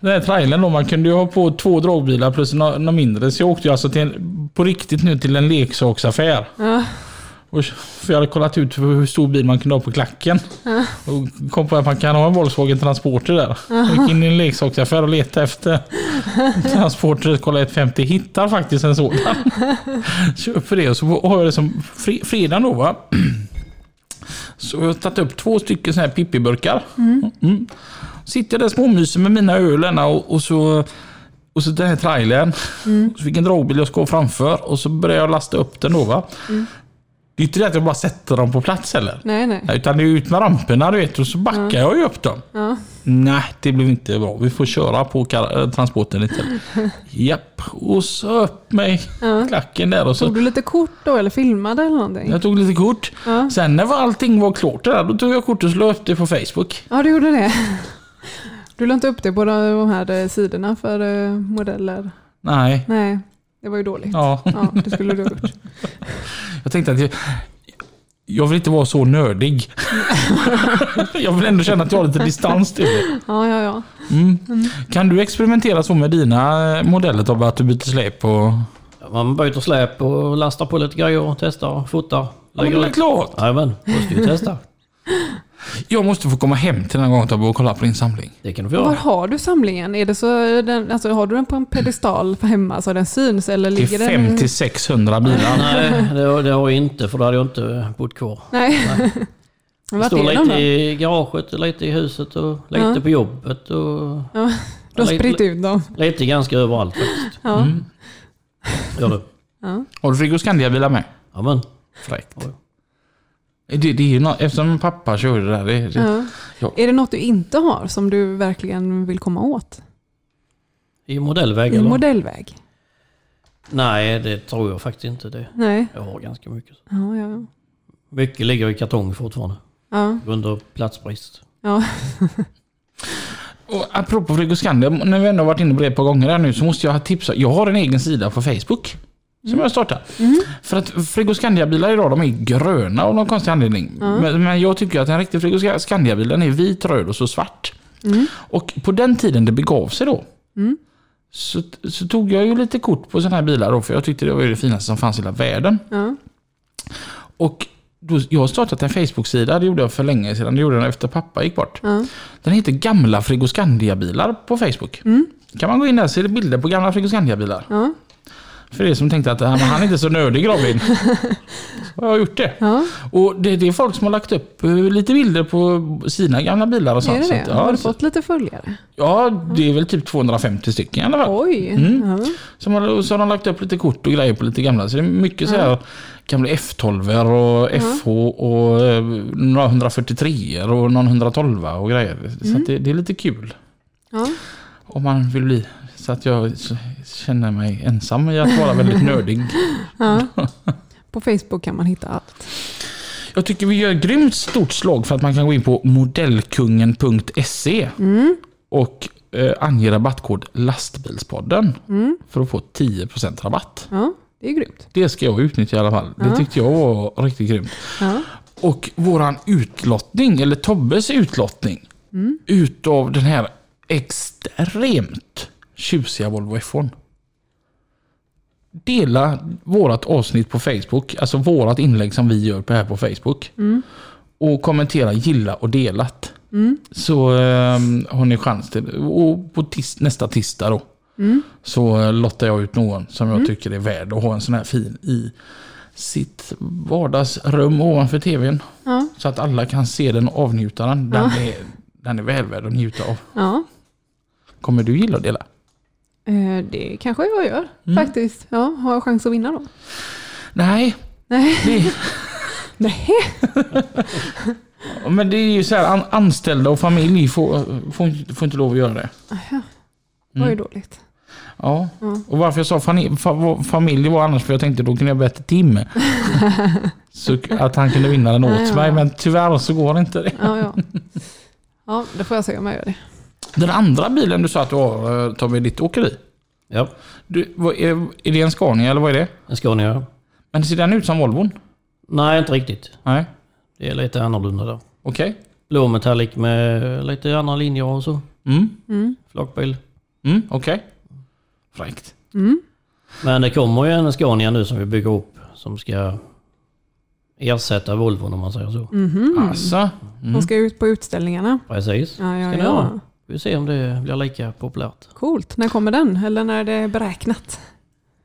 Speaker 1: den här trailern då, man kunde ju ha på två dragbilar plus nå- några mindre. Så jag åkte ju alltså till en, på riktigt nu till en leksaksaffär.
Speaker 2: Ja.
Speaker 1: Och, för jag hade kollat ut hur hur stor bil man kunde ha på klacken. Och kom på att man kan ha en Volkswagen Transporter där. Jag gick in i en leksaksaffär och letade efter Transporter, kollade 150, hittar faktiskt en sådan. Köper det och så har jag det som fre, fredag då va. Så jag har tagit upp två stycken såna här pippiburkar. Mm. Sitter jag där småmyser med mina ölen och, och så och så den här trailern. Så fick en dragbil jag ska framför och så började jag lasta upp den då va. Det är inte det att jag bara sätter dem på plats heller.
Speaker 2: Nej, nej.
Speaker 1: Nej, utan det är ut med ramperna du vet och så backar jag ju upp dem. Nej, det blev inte bra. Vi får köra på kar- eh, transporten lite. Japp, och så upp med klacken där och så.
Speaker 2: Tog du lite kort då eller filmade eller någonting?
Speaker 1: Jag tog lite kort.
Speaker 2: Ja.
Speaker 1: Sen när allting var klart det där, då tog jag kort och slog upp det på Facebook.
Speaker 2: Ja, du gjorde det. Du la inte upp det på de de här eh, sidorna för eh, modeller?
Speaker 1: Nej.
Speaker 2: Nej, det var ju dåligt.
Speaker 1: Ja.
Speaker 2: Ja, det skulle du ha gjort.
Speaker 1: Jag tänkte att jag, jag vill inte vara så nördig. jag vill ändå känna att jag har lite distans till det.
Speaker 2: Ja, ja, ja.
Speaker 1: Mm. Kan du experimentera så med dina eh, modeller Tobbe, att du byter släp och...
Speaker 3: Man byter släp och lastar på lite grejer, testar, fotar.
Speaker 1: Ja, men det är klart.
Speaker 3: Jajamän, måste ju testa.
Speaker 1: Jag måste få komma hem till den här gången Tobbe och kolla på din samling.
Speaker 3: Det kan du få
Speaker 2: Var
Speaker 3: göra.
Speaker 2: har du samlingen? Är det så den, alltså, har du den på en pedestal på hemma så den syns? Eller
Speaker 1: Det
Speaker 2: ligger
Speaker 1: är
Speaker 2: den...
Speaker 1: 50-600 bilar.
Speaker 3: Nej, det, har- det har jag inte för då hade jag inte bott kvar.
Speaker 2: Nej.
Speaker 3: Jag
Speaker 2: Vart
Speaker 3: står
Speaker 2: är
Speaker 3: lite
Speaker 2: de då?
Speaker 3: i garaget, och lite i huset och lite
Speaker 2: Ja.
Speaker 3: på jobbet och
Speaker 2: Ja, du har
Speaker 3: Lite-
Speaker 2: spritt ut dem.
Speaker 3: lite ganska överallt faktiskt. Mm.
Speaker 2: Ja.
Speaker 3: Gör det.
Speaker 2: Ja.
Speaker 1: Har du Frigo Scandia-bilar med?
Speaker 3: Jajamän.
Speaker 1: Fräckt.
Speaker 3: Oj.
Speaker 1: Det, det är ju nå- eftersom pappa körde det där. Det, det,
Speaker 2: Ja.
Speaker 1: Ja.
Speaker 2: Är det något du inte har som du verkligen vill komma åt?
Speaker 3: I modellväg
Speaker 2: I
Speaker 3: eller?
Speaker 2: modellväg?
Speaker 3: Nej, det tror jag faktiskt inte. Det.
Speaker 2: Nej.
Speaker 3: Jag har ganska mycket.
Speaker 2: Ja, ja, ja.
Speaker 3: Mycket ligger i kartong fortfarande.
Speaker 2: ja.
Speaker 3: Under platsbrist.
Speaker 2: ja.
Speaker 1: Och apropå Frigo Scandia, när vi ändå har varit inne på det ett par gånger här nu så måste jag ha tipsa. Jag har en egen sida på Facebook. Som jag startar. För att Frigo Scandia-bilar idag de är gröna av någon konstig anledning. Men, men jag tycker att en riktig Frigo Sca- Scandia-bil den är vit, röd och så svart. Och på den tiden det begav sig då. Så, så tog jag ju lite kort på sådana här bilar då för jag tyckte det var ju det finaste som fanns i hela världen.
Speaker 2: Ja.
Speaker 1: Och då, jag har startat en Facebook-sida, det gjorde jag för länge sedan. Det gjorde jag efter pappa gick bort.
Speaker 2: Ja.
Speaker 1: Den heter Gamla Frigoscandia-bilar på Facebook. Kan man gå in där så är det bilder på gamla Frigoscandia-bilar.
Speaker 2: Mm. Ja.
Speaker 1: För er som tänkte att "Ah, men han är inte så nördig Robin. så har jag gjort det.
Speaker 2: Ja.
Speaker 1: Och det, det är folk som har lagt upp eh, lite bilder på sina gamla bilar och sånt.
Speaker 2: Är det
Speaker 1: Så att,
Speaker 2: det? Har
Speaker 1: ja,
Speaker 2: du
Speaker 1: så,
Speaker 2: fått lite följare?
Speaker 1: ja, det är väl typ 250 stycken i alla fall.
Speaker 2: Oj! Ja.
Speaker 1: Som har, och så har de lagt upp lite kort och grejer på lite gamla. Så det är mycket så här gamla F12 och FH och eh, några 143 och någon 112 och grejer. Så att det, det är lite kul
Speaker 2: Ja.
Speaker 1: om man vill bli Så att jag s- känner mig ensam i att vara väldigt nördig.
Speaker 2: Ja. På Facebook kan man hitta allt.
Speaker 1: Jag tycker vi gör ett grymt stort slag för att man kan gå in på modellkungen.se E och eh, ange rabattkod lastbilspodden för att få 10% rabatt.
Speaker 2: Ja, det är grymt.
Speaker 1: Det ska jag utnyttja i alla fall. Det tyckte jag var riktigt grymt.
Speaker 2: Ja.
Speaker 1: Och våran utlottning, eller Tobbes utlottning, utav den här extremt tjusiga Volvo F1. Dela vårat avsnitt på Facebook, alltså vårat inlägg som vi gör på här på Facebook. Och kommentera gilla och delat. Så eh, har ni chans till Och på tis- nästa tisdag då. Så eh, lottar jag ut någon som jag
Speaker 2: Mm.
Speaker 1: tycker är värd att ha en sån här fin i sitt vardagsrum ovanför tvn.
Speaker 2: Ja.
Speaker 1: Så att alla kan se den och avnjuta den. Den, är, den är väl värd att njuta av.
Speaker 2: Ja,
Speaker 1: Kommer du gilla att dela?
Speaker 2: eh, det kanske jag gör
Speaker 3: Mm.
Speaker 2: faktiskt. Ja, har jag chans att vinna då?
Speaker 1: Nej.
Speaker 2: Nej.
Speaker 1: Det,
Speaker 2: Nej.
Speaker 1: men det är ju så här, an, anställda och familj får, får, får inte lov att göra det.
Speaker 3: Mm.
Speaker 2: Det var ju dåligt.
Speaker 1: Ja. Och varför jag sa fani- fa- familj var annars för jag tänkte då kunde jag bättre Tim. så att han kunde vinna den åt
Speaker 2: Ja.
Speaker 1: mig. Men tyvärr så går inte det.
Speaker 2: Ja, ja. ja, då får jag se om jag gör det.
Speaker 1: Den andra bilen du sa att du har eh, Tobbe, i ditt åkeri.
Speaker 3: Ja,
Speaker 1: Du, vad, är, är det en Scania eller vad är det?
Speaker 3: en Scania.
Speaker 1: Men ser den ut som Volvon?
Speaker 3: Nej, inte riktigt.
Speaker 1: Nej.
Speaker 3: Det är lite annorlunda där.
Speaker 1: Okej.
Speaker 3: Blå metallic med lite andra linjer och så.
Speaker 1: Mm.
Speaker 3: Flakbil.
Speaker 1: Mm, okej. Fräckt.
Speaker 2: Mm.
Speaker 3: Men det kommer ju en Scania nu som vi bygger upp som ska ersätta Volvon om man säger så.
Speaker 2: Mm.
Speaker 1: Alltså.
Speaker 2: Mhm. De ska ut på utställningarna.
Speaker 3: Precis.
Speaker 2: Ja, ja,
Speaker 3: Mm. ska ni
Speaker 2: ja.
Speaker 3: ha? Vi ser om det blir lika populärt.
Speaker 2: Coolt. När kommer den? Eller när är det beräknat?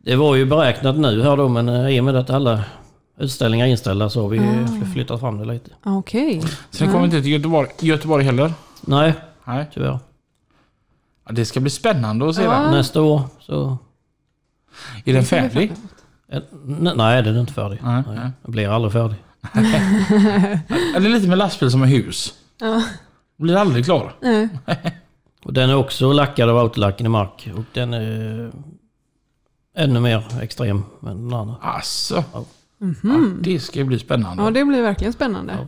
Speaker 3: Det var ju beräknat nu här då men eh, i och med att alla utställningar är inställda så har vi eh, flyttat fram det lite.
Speaker 2: Ah, Okej.
Speaker 1: Sen kommer vi inte till Göteborg, Göteborg heller.
Speaker 3: Nej,
Speaker 1: Nej.
Speaker 3: tyvärr.
Speaker 1: Ja, Det ska bli spännande att se
Speaker 2: Ja.
Speaker 1: den.
Speaker 3: Nästa år så...
Speaker 1: Är den färdig?
Speaker 3: eh, ne- Nej, den är inte färdig.
Speaker 1: Nej,
Speaker 3: Nej,
Speaker 1: nej.
Speaker 3: Den blir aldrig färdig.
Speaker 1: Eller lite med lastbil som är hus.
Speaker 2: Ja.
Speaker 1: Blir aldrig klar.
Speaker 2: Nej.
Speaker 3: Och den är också lackad av autolacken i mark och den är ännu mer extrem än den andra.
Speaker 1: Alltså.
Speaker 3: Ja.
Speaker 1: Ja, det ska bli
Speaker 2: mhm. Mm. Ja,
Speaker 1: spännande. Mm.
Speaker 2: det blir verkligen spännande.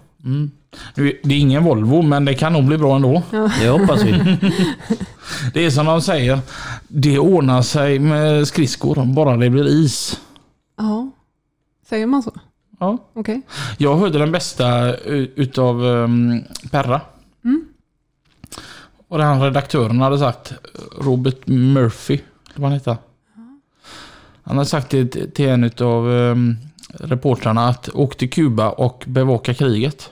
Speaker 1: Nu, det är ingen Volvo, men det kan nog bli bra ändå.
Speaker 3: Det hoppas vi.
Speaker 1: Det är som de säger. Det ordnar sig med skridskor, bara det blir is.
Speaker 2: Ja. Säger man så?
Speaker 1: Ja.
Speaker 2: Okej.
Speaker 1: Jag hörde den bästa u- utav um, Perra.
Speaker 2: Mm.
Speaker 1: Och den här redaktören hade sagt Robert Murphy, eller vad han heter. Han hade sagt det t- till en utav um, reportrarna att åk till Kuba och bevaka kriget.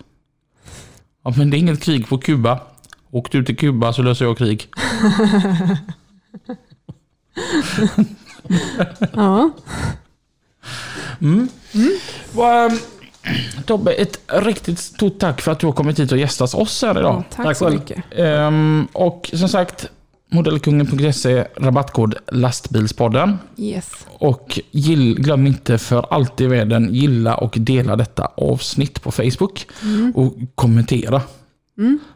Speaker 1: Ja men det är inget krig på Kuba. Åk du till Kuba så löser jag krig.
Speaker 2: Ja.
Speaker 3: Mm.
Speaker 1: Vad, ehm, Tobbe, ett riktigt stort tack för att du har kommit hit och gästat oss här idag.
Speaker 2: ja. Tack
Speaker 3: Tack
Speaker 2: så
Speaker 3: själv.
Speaker 2: mycket.
Speaker 1: Ehm, och som sagt, modellkungen.se, rabattkod lastbilspodden.
Speaker 2: Yes.
Speaker 1: Och gill, glöm inte för allt i världen, gilla och dela detta avsnitt på Facebook.
Speaker 2: Mm.
Speaker 1: Och kommentera.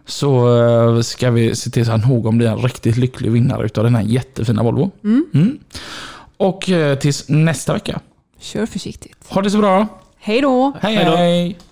Speaker 1: Så eh, ska vi se till så att någon blir en riktigt lycklig vinnare utav den här jättefina Volvo. Mm. Och eh, tills nästa vecka.
Speaker 2: Kör försiktigt.
Speaker 1: Ha det så bra.
Speaker 2: Hej då!
Speaker 1: Hej
Speaker 3: Hej då.
Speaker 1: hej!